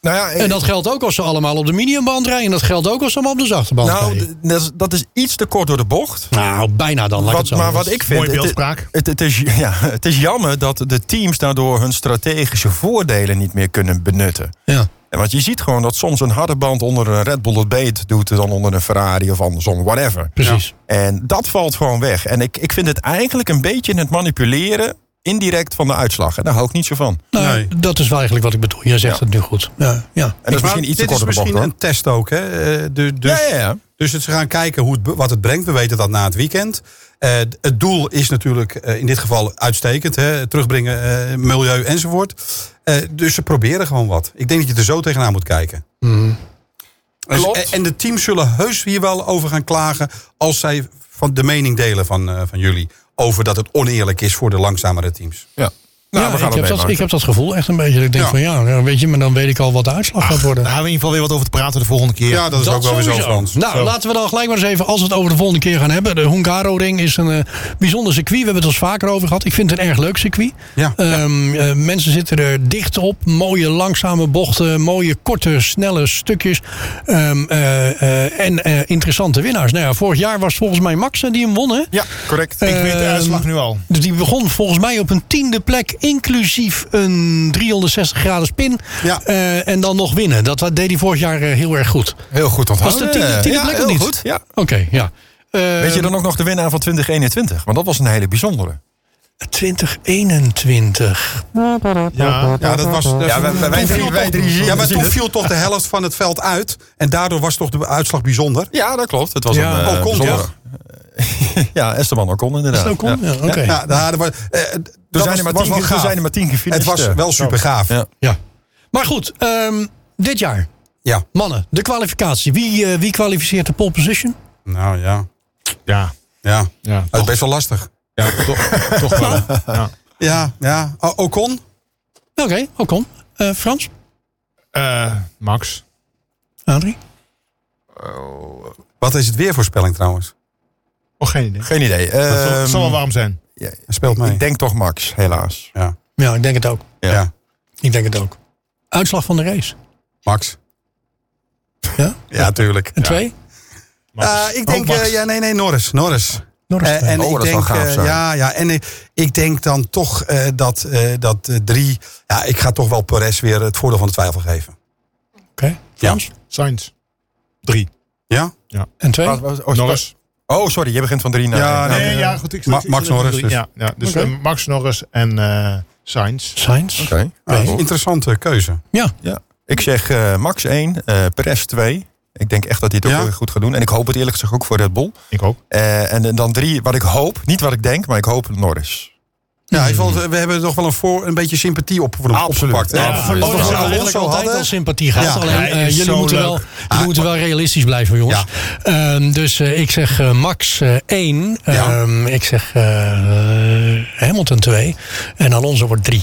Speaker 2: Nou ja,
Speaker 1: En dat geldt ook als ze allemaal op de mediumband rijden. En dat geldt ook als ze allemaal op de zachte band
Speaker 2: nou,
Speaker 1: rijden.
Speaker 2: d- dat is- dat is iets te kort door de bocht.
Speaker 1: Nou, bijna dan. Laat ik het
Speaker 2: Wat,
Speaker 1: zo
Speaker 2: maar
Speaker 1: zeggen.
Speaker 2: wat ik vind.
Speaker 3: Mooie
Speaker 2: het-
Speaker 3: beeldspraak.
Speaker 2: Het, het, is, ja, het is jammer dat de teams daardoor hun strategische voordelen niet meer kunnen benutten.
Speaker 1: Ja.
Speaker 2: En Want je ziet gewoon dat soms een harde band onder een Red Bull het beet doet dan onder een Ferrari of andersom, whatever.
Speaker 1: Precies.
Speaker 2: En dat valt gewoon weg. En ik, ik vind het eigenlijk een beetje het manipuleren indirect van de uitslag. En daar hou ik niet zo van.
Speaker 1: Nou,
Speaker 4: Nee.
Speaker 1: Dat is wel eigenlijk wat ik bedoel. Jij zegt
Speaker 2: Ja.
Speaker 1: het nu goed. Ja, ja.
Speaker 2: En dat is
Speaker 4: Maar
Speaker 2: misschien iets te
Speaker 4: dit is
Speaker 2: kort op de bocht
Speaker 4: misschien
Speaker 2: hoor.
Speaker 4: een test ook. Hè? Eh, du- dus,
Speaker 2: ja, ja, ja.
Speaker 4: dus ze gaan kijken hoe het, be- wat het brengt. We weten dat na het weekend. Eh, d- het doel is natuurlijk eh, in dit geval uitstekend. Hè? Terugbrengen, eh, milieu enzovoort. Eh, dus ze proberen gewoon wat. Ik denk dat je er zo tegenaan moet kijken. Dus-
Speaker 2: Klopt.
Speaker 4: en, en de teams zullen heus hier wel over gaan klagen... als zij van de mening delen van, eh, van jullie... over dat het oneerlijk is voor de langzamere teams.
Speaker 2: ja. Nou,
Speaker 1: Ja,
Speaker 2: we gaan
Speaker 1: ik,
Speaker 2: het
Speaker 1: heb dat, ik
Speaker 2: meemaken.
Speaker 1: heb dat gevoel echt een beetje. Dat ik denk
Speaker 4: Ja.
Speaker 1: van ja, ja, weet je, maar dan weet ik al wat de uitslag gaat worden.
Speaker 3: Daar hebben we in ieder geval weer wat over te praten de volgende keer.
Speaker 4: Ja, dat is ook wel weer zo
Speaker 1: sowieso.
Speaker 4: voor ons.
Speaker 1: Nou,
Speaker 3: Zo.
Speaker 1: laten we dan gelijk maar eens even, als we het over de volgende keer gaan hebben. De Hongaro-ring is een eh, bijzonder circuit. We hebben het al eens vaker over gehad. Ik vind het een erg leuk circuit.
Speaker 4: Ja.
Speaker 1: Ehm, eh, mensen zitten er dicht op. Mooie langzame bochten. Mooie korte, snelle stukjes. Ehm, eh, eh, en eh, interessante winnaars. Nou ja, vorig jaar was volgens mij Max eh, die hem won, hè?
Speaker 3: Ja,
Speaker 2: correct.
Speaker 3: Ik weet de
Speaker 1: Ehm,
Speaker 3: uitslag nu al.
Speaker 1: Dus die begon volgens mij op een tiende plek, inclusief een 360 graden spin.
Speaker 4: Ja.
Speaker 1: Eh, en dan nog winnen. Dat deed hij vorig jaar eh, heel erg goed.
Speaker 2: Heel goed
Speaker 1: Was
Speaker 2: onthouden.
Speaker 1: het de tiende, tiende
Speaker 2: ja,
Speaker 1: plek of
Speaker 2: heel
Speaker 1: niet?
Speaker 2: goed. Ja.
Speaker 1: Oké, ja. Eh,
Speaker 2: Weet je dan ook nog de winnaar van 2021? Want dat was een hele bijzondere.
Speaker 1: 2021.
Speaker 3: Ja.
Speaker 4: Ja, dat was. dat-
Speaker 2: Ja, wij- wij- wij drie- wij drie zien-
Speaker 4: Ja, maar
Speaker 2: zien
Speaker 4: toen
Speaker 2: het.
Speaker 4: viel toch de helft van het veld uit. En daardoor was toch de uitslag bijzonder.
Speaker 2: Ja, dat klopt. Het was
Speaker 1: Ja.
Speaker 2: een eh,
Speaker 4: Ocon,
Speaker 2: bijzondere. ja, Esteban Ocon inderdaad.
Speaker 1: Zo kon? Ja, oké.
Speaker 4: Ja, daar, was, eh, dat was,
Speaker 2: er maar
Speaker 4: was
Speaker 2: tien
Speaker 4: wel
Speaker 2: ge-
Speaker 4: gaaf.
Speaker 2: er zijn er maar tien
Speaker 4: Het
Speaker 2: gefinished.
Speaker 4: was
Speaker 2: eh.
Speaker 4: wel super gaaf. Ja.
Speaker 2: Ja.
Speaker 1: Ja. Maar goed, ehm, dit jaar. Mannen, de kwalificatie. Wie, eh, wie kwalificeert de pole position?
Speaker 4: Nou ja.
Speaker 3: Ja.
Speaker 4: Ja. Oh,
Speaker 3: Ja,
Speaker 4: Het is best wel lastig.
Speaker 3: ja toch, toch wel. Ja.
Speaker 4: Ja, ja. O- Ocon?
Speaker 1: Oké, ook kom. Frans?
Speaker 3: Eh, Max.
Speaker 1: Adrie?
Speaker 4: Wat is het weervoorspelling trouwens?
Speaker 3: Oh, geen idee.
Speaker 2: Geen idee.
Speaker 3: Het zal-
Speaker 2: Ehm,
Speaker 3: het zal wel warm zijn.
Speaker 2: ja,
Speaker 4: Hij speelt mee.
Speaker 2: ik denk toch Max, helaas.
Speaker 4: ja.
Speaker 1: Ja, ik denk het ook.
Speaker 4: Ja.
Speaker 1: Ik denk het ook. Uitslag van de race.
Speaker 4: Max.
Speaker 1: Ja?
Speaker 4: Ja, tuurlijk.
Speaker 1: En twee?
Speaker 4: Eh, ik denk,
Speaker 3: Oh, Max.
Speaker 4: eh, ja, nee, nee, Norris. Norris.
Speaker 1: Norris
Speaker 4: Eh,
Speaker 1: twee.
Speaker 4: en
Speaker 2: Oh,
Speaker 4: ik
Speaker 2: dat zou
Speaker 4: denk,
Speaker 2: gaaf
Speaker 4: eh,
Speaker 2: zijn.
Speaker 4: ja, ja, en ik, ik denk dan toch eh, dat, eh, dat eh, drie. Ja, ik ga toch wel Perez weer het voordeel van de twijfel geven.
Speaker 1: Oké. Frans?
Speaker 3: Sainz. Drie.
Speaker 4: Ja?
Speaker 1: En twee?
Speaker 2: Wat- wat- oh,
Speaker 3: Norris.
Speaker 2: Oh, sorry, je begint van drie naar...
Speaker 4: Ja,
Speaker 2: naar-
Speaker 3: Nee, ja, goed. Ik,
Speaker 4: Ma-
Speaker 3: ik- ik-
Speaker 4: Max
Speaker 3: ik- ik-
Speaker 4: Norris dus.
Speaker 3: Ja, ja, dus
Speaker 1: Oké.
Speaker 3: eh, Max Norris en eh Sainz.
Speaker 1: Sainz?
Speaker 2: Oké.
Speaker 4: Ah,
Speaker 2: Ah, goed.
Speaker 4: interessante keuze.
Speaker 1: Ja.
Speaker 2: ja. Ik zeg eh, Max 1, eh Perez 2. Ik denk echt dat hij het ook
Speaker 4: Ja?
Speaker 2: weer goed gaat doen. En ik hoop het eerlijk gezegd ook voor Red Bull.
Speaker 3: Ik ook.
Speaker 2: Eh, en dan drie, wat ik hoop, niet wat ik denk, maar ik hoop Norris.
Speaker 4: Ja, ik vond- we hebben toch wel een, voor, een beetje sympathie op, voor hem
Speaker 2: Absoluut.
Speaker 4: opgepakt. hè?
Speaker 2: Ja,
Speaker 4: Als
Speaker 2: absoluut.
Speaker 4: we
Speaker 1: Oh,
Speaker 2: Als
Speaker 1: dat
Speaker 2: we
Speaker 1: is
Speaker 4: Alonso
Speaker 1: eigenlijk altijd
Speaker 4: hadden-
Speaker 1: al sympathie gehad.
Speaker 4: Ja,
Speaker 1: Alleen,
Speaker 3: hij
Speaker 1: eh,
Speaker 3: is
Speaker 1: jullie,
Speaker 3: zo
Speaker 1: moeten
Speaker 3: leuk.
Speaker 1: wel, jullie moeten wel realistisch blijven, jongens. Ehm, dus eh, ik zeg eh, Max eh, 1.
Speaker 4: Ja.
Speaker 1: Ehm, ik zeg eh, eh, Hamilton 2. En Alonso wordt 3.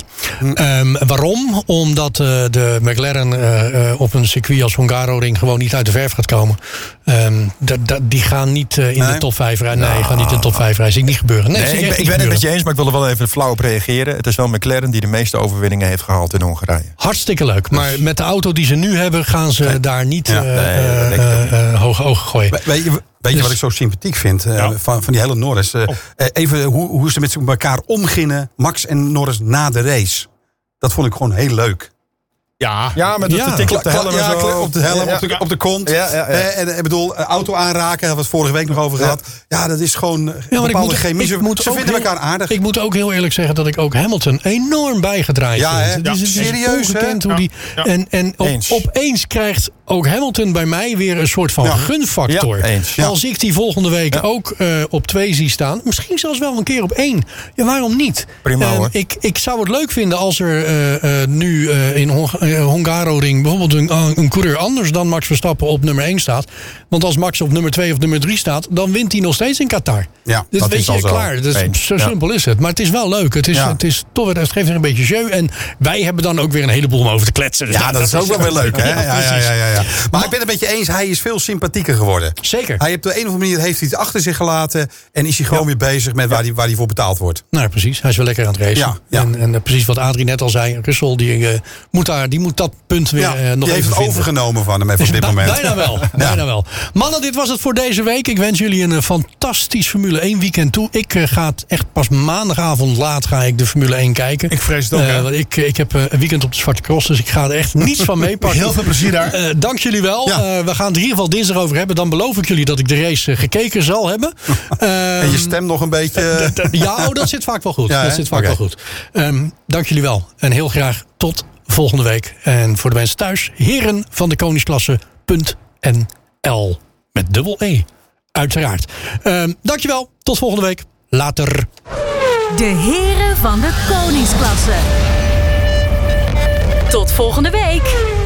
Speaker 1: Ehm, waarom? Omdat eh, de McLaren eh, eh, op een circuit als Hungaroring gewoon niet uit de verf gaat komen. Ehm, dat- dat- die gaan niet eh, in de
Speaker 4: Nee?
Speaker 1: top 5 rijden. Nee, gaan niet in de top 5 rijden. Zie ik niet gebeuren. Nee,
Speaker 2: Nee,
Speaker 1: zie
Speaker 2: Eh, ik, ben-
Speaker 1: echt
Speaker 2: ik
Speaker 1: niet
Speaker 2: ben het met
Speaker 1: gebeuren.
Speaker 2: je eens, maar ik wil er wel even flauw op reageren. Het is wel McLaren die de meeste overwinningen heeft gehaald in Hongarije.
Speaker 1: Hartstikke leuk. Maar met de auto die ze nu hebben, gaan ze daar niet
Speaker 4: Ja,
Speaker 1: eh,
Speaker 2: nee,
Speaker 1: eh,
Speaker 2: dat denk ik ook
Speaker 1: eh, hoog ogen gooien.
Speaker 4: We- Weet je, weet je
Speaker 1: Dus-
Speaker 4: wat ik zo sympathiek vind eh,
Speaker 3: Ja.
Speaker 4: van, van die hele Norris?
Speaker 2: Oh.
Speaker 4: Eh, eh, even hoe, hoe ze met elkaar omgingen, Max en Norris, na de race. Dat vond ik gewoon heel leuk.
Speaker 3: Ja.
Speaker 2: Ja, met
Speaker 1: dat Ja. tik
Speaker 4: Kla- kla- ja, kla- op de helm,
Speaker 2: Ja,
Speaker 4: op, de, op de kont.
Speaker 2: Ja, ja, ja.
Speaker 4: Eh, en, eh, ik bedoel, eh, auto aanraken, daar hebben we het vorige week nog over gehad. Ja, dat is gewoon eh,
Speaker 1: Ja, maar ik
Speaker 4: bepaalde
Speaker 1: moet-
Speaker 4: chemie.
Speaker 1: ik
Speaker 4: Ze,
Speaker 1: moet
Speaker 4: ze
Speaker 1: ook
Speaker 4: vinden
Speaker 1: heel-
Speaker 4: elkaar aardig.
Speaker 1: Ik moet ook heel eerlijk zeggen dat ik ook Hamilton enorm bijgedraaid
Speaker 4: Ja, hè?
Speaker 1: vind. Het
Speaker 4: Ja,
Speaker 1: het
Speaker 4: serieus, hè?
Speaker 1: ongekend hoe
Speaker 3: Ja,
Speaker 1: die,
Speaker 3: ja.
Speaker 1: En, en op-
Speaker 2: Eens.
Speaker 1: opeens krijgt ook Hamilton bij mij weer een soort van
Speaker 4: Ja.
Speaker 1: gunfactor.
Speaker 2: Ja, eens. Ja.
Speaker 1: Als ik die volgende week ook eh, op twee zie staan, misschien zelfs wel een keer op één. Ja, waarom niet?
Speaker 2: Prima,
Speaker 1: Eh,
Speaker 2: hoor.
Speaker 1: ik, ik zou het leuk vinden als er eh, eh, nu eh, in Hong eh, Hongaro-ring bijvoorbeeld een, eh, een coureur anders dan Max Verstappen op nummer 1 staat. Want als Max op nummer 2 of nummer 3 staat, dan wint hij nog steeds in Qatar.
Speaker 4: Ja,
Speaker 1: dus
Speaker 2: dat
Speaker 1: weet
Speaker 2: is
Speaker 1: je,
Speaker 2: al zo.
Speaker 1: klaar. Dus
Speaker 2: Eens.
Speaker 1: zo
Speaker 2: Ja.
Speaker 1: simpel is het. Maar het is wel leuk. Het, is,
Speaker 4: Ja.
Speaker 1: het, is toch, weer- het geeft weer een beetje jeu. En wij hebben dan ook weer een heleboel om over te kletsen. Dus
Speaker 4: Ja, dat is ook wel weer leuk, hè?
Speaker 1: Ja,
Speaker 4: Ja, ja,
Speaker 1: precies.
Speaker 4: ja, ja, ja. Maar ik ben het met je eens, hij is veel sympathieker geworden.
Speaker 1: Zeker.
Speaker 4: Hij heeft op de een of andere manier heeft hij het achter zich gelaten... en is hij gewoon weer bezig met waar hij, waar hij voor betaald wordt.
Speaker 1: Nou, precies. Hij is wel lekker aan het racen.
Speaker 4: Ja, ja.
Speaker 1: En, en eh, precies wat Adrie net al zei. Russell, die, eh, moet, daar, die die moet dat punt weer eh,
Speaker 4: Ja,
Speaker 1: nog
Speaker 4: die heeft
Speaker 1: even
Speaker 4: het
Speaker 1: vinden.
Speaker 4: overgenomen van hem even op dit
Speaker 1: Ba-
Speaker 4: moment.
Speaker 1: Bijna wel, bijna wel. Mannen, dit was het voor deze week. Ik wens jullie een eh, fantastisch Formule 1 weekend toe. Ik eh, ga het echt pas maandagavond laat ga ik de Formule 1 kijken.
Speaker 3: Ik vrees het ook,
Speaker 1: Eh,
Speaker 3: hè?
Speaker 1: want ik, ik heb eh, een weekend op de Zwarte Cross, dus ik ga er echt niets van meepakken.
Speaker 3: Heel veel plezier daar.
Speaker 1: Eh, dank jullie wel.
Speaker 4: Ja.
Speaker 1: Eh, we gaan het in ieder geval dinsdag over hebben. Dan beloof ik jullie dat ik de race eh, gekeken zal hebben. Ehm,
Speaker 4: En je stem nog een beetje...
Speaker 1: ja, oh, dat zit vaak wel goed.
Speaker 4: Ja,
Speaker 1: dat
Speaker 4: hè?
Speaker 1: zit vaak
Speaker 4: Oké.
Speaker 1: wel goed. Ehm, dank jullie wel. En heel graag tot volgende week. En voor de mensen thuis, heren van de koningsklasse.nl. Met dubbel E, uiteraard. Ehm dankjewel, tot volgende week. Later.
Speaker 5: De heren van de koningsklasse. Tot volgende week.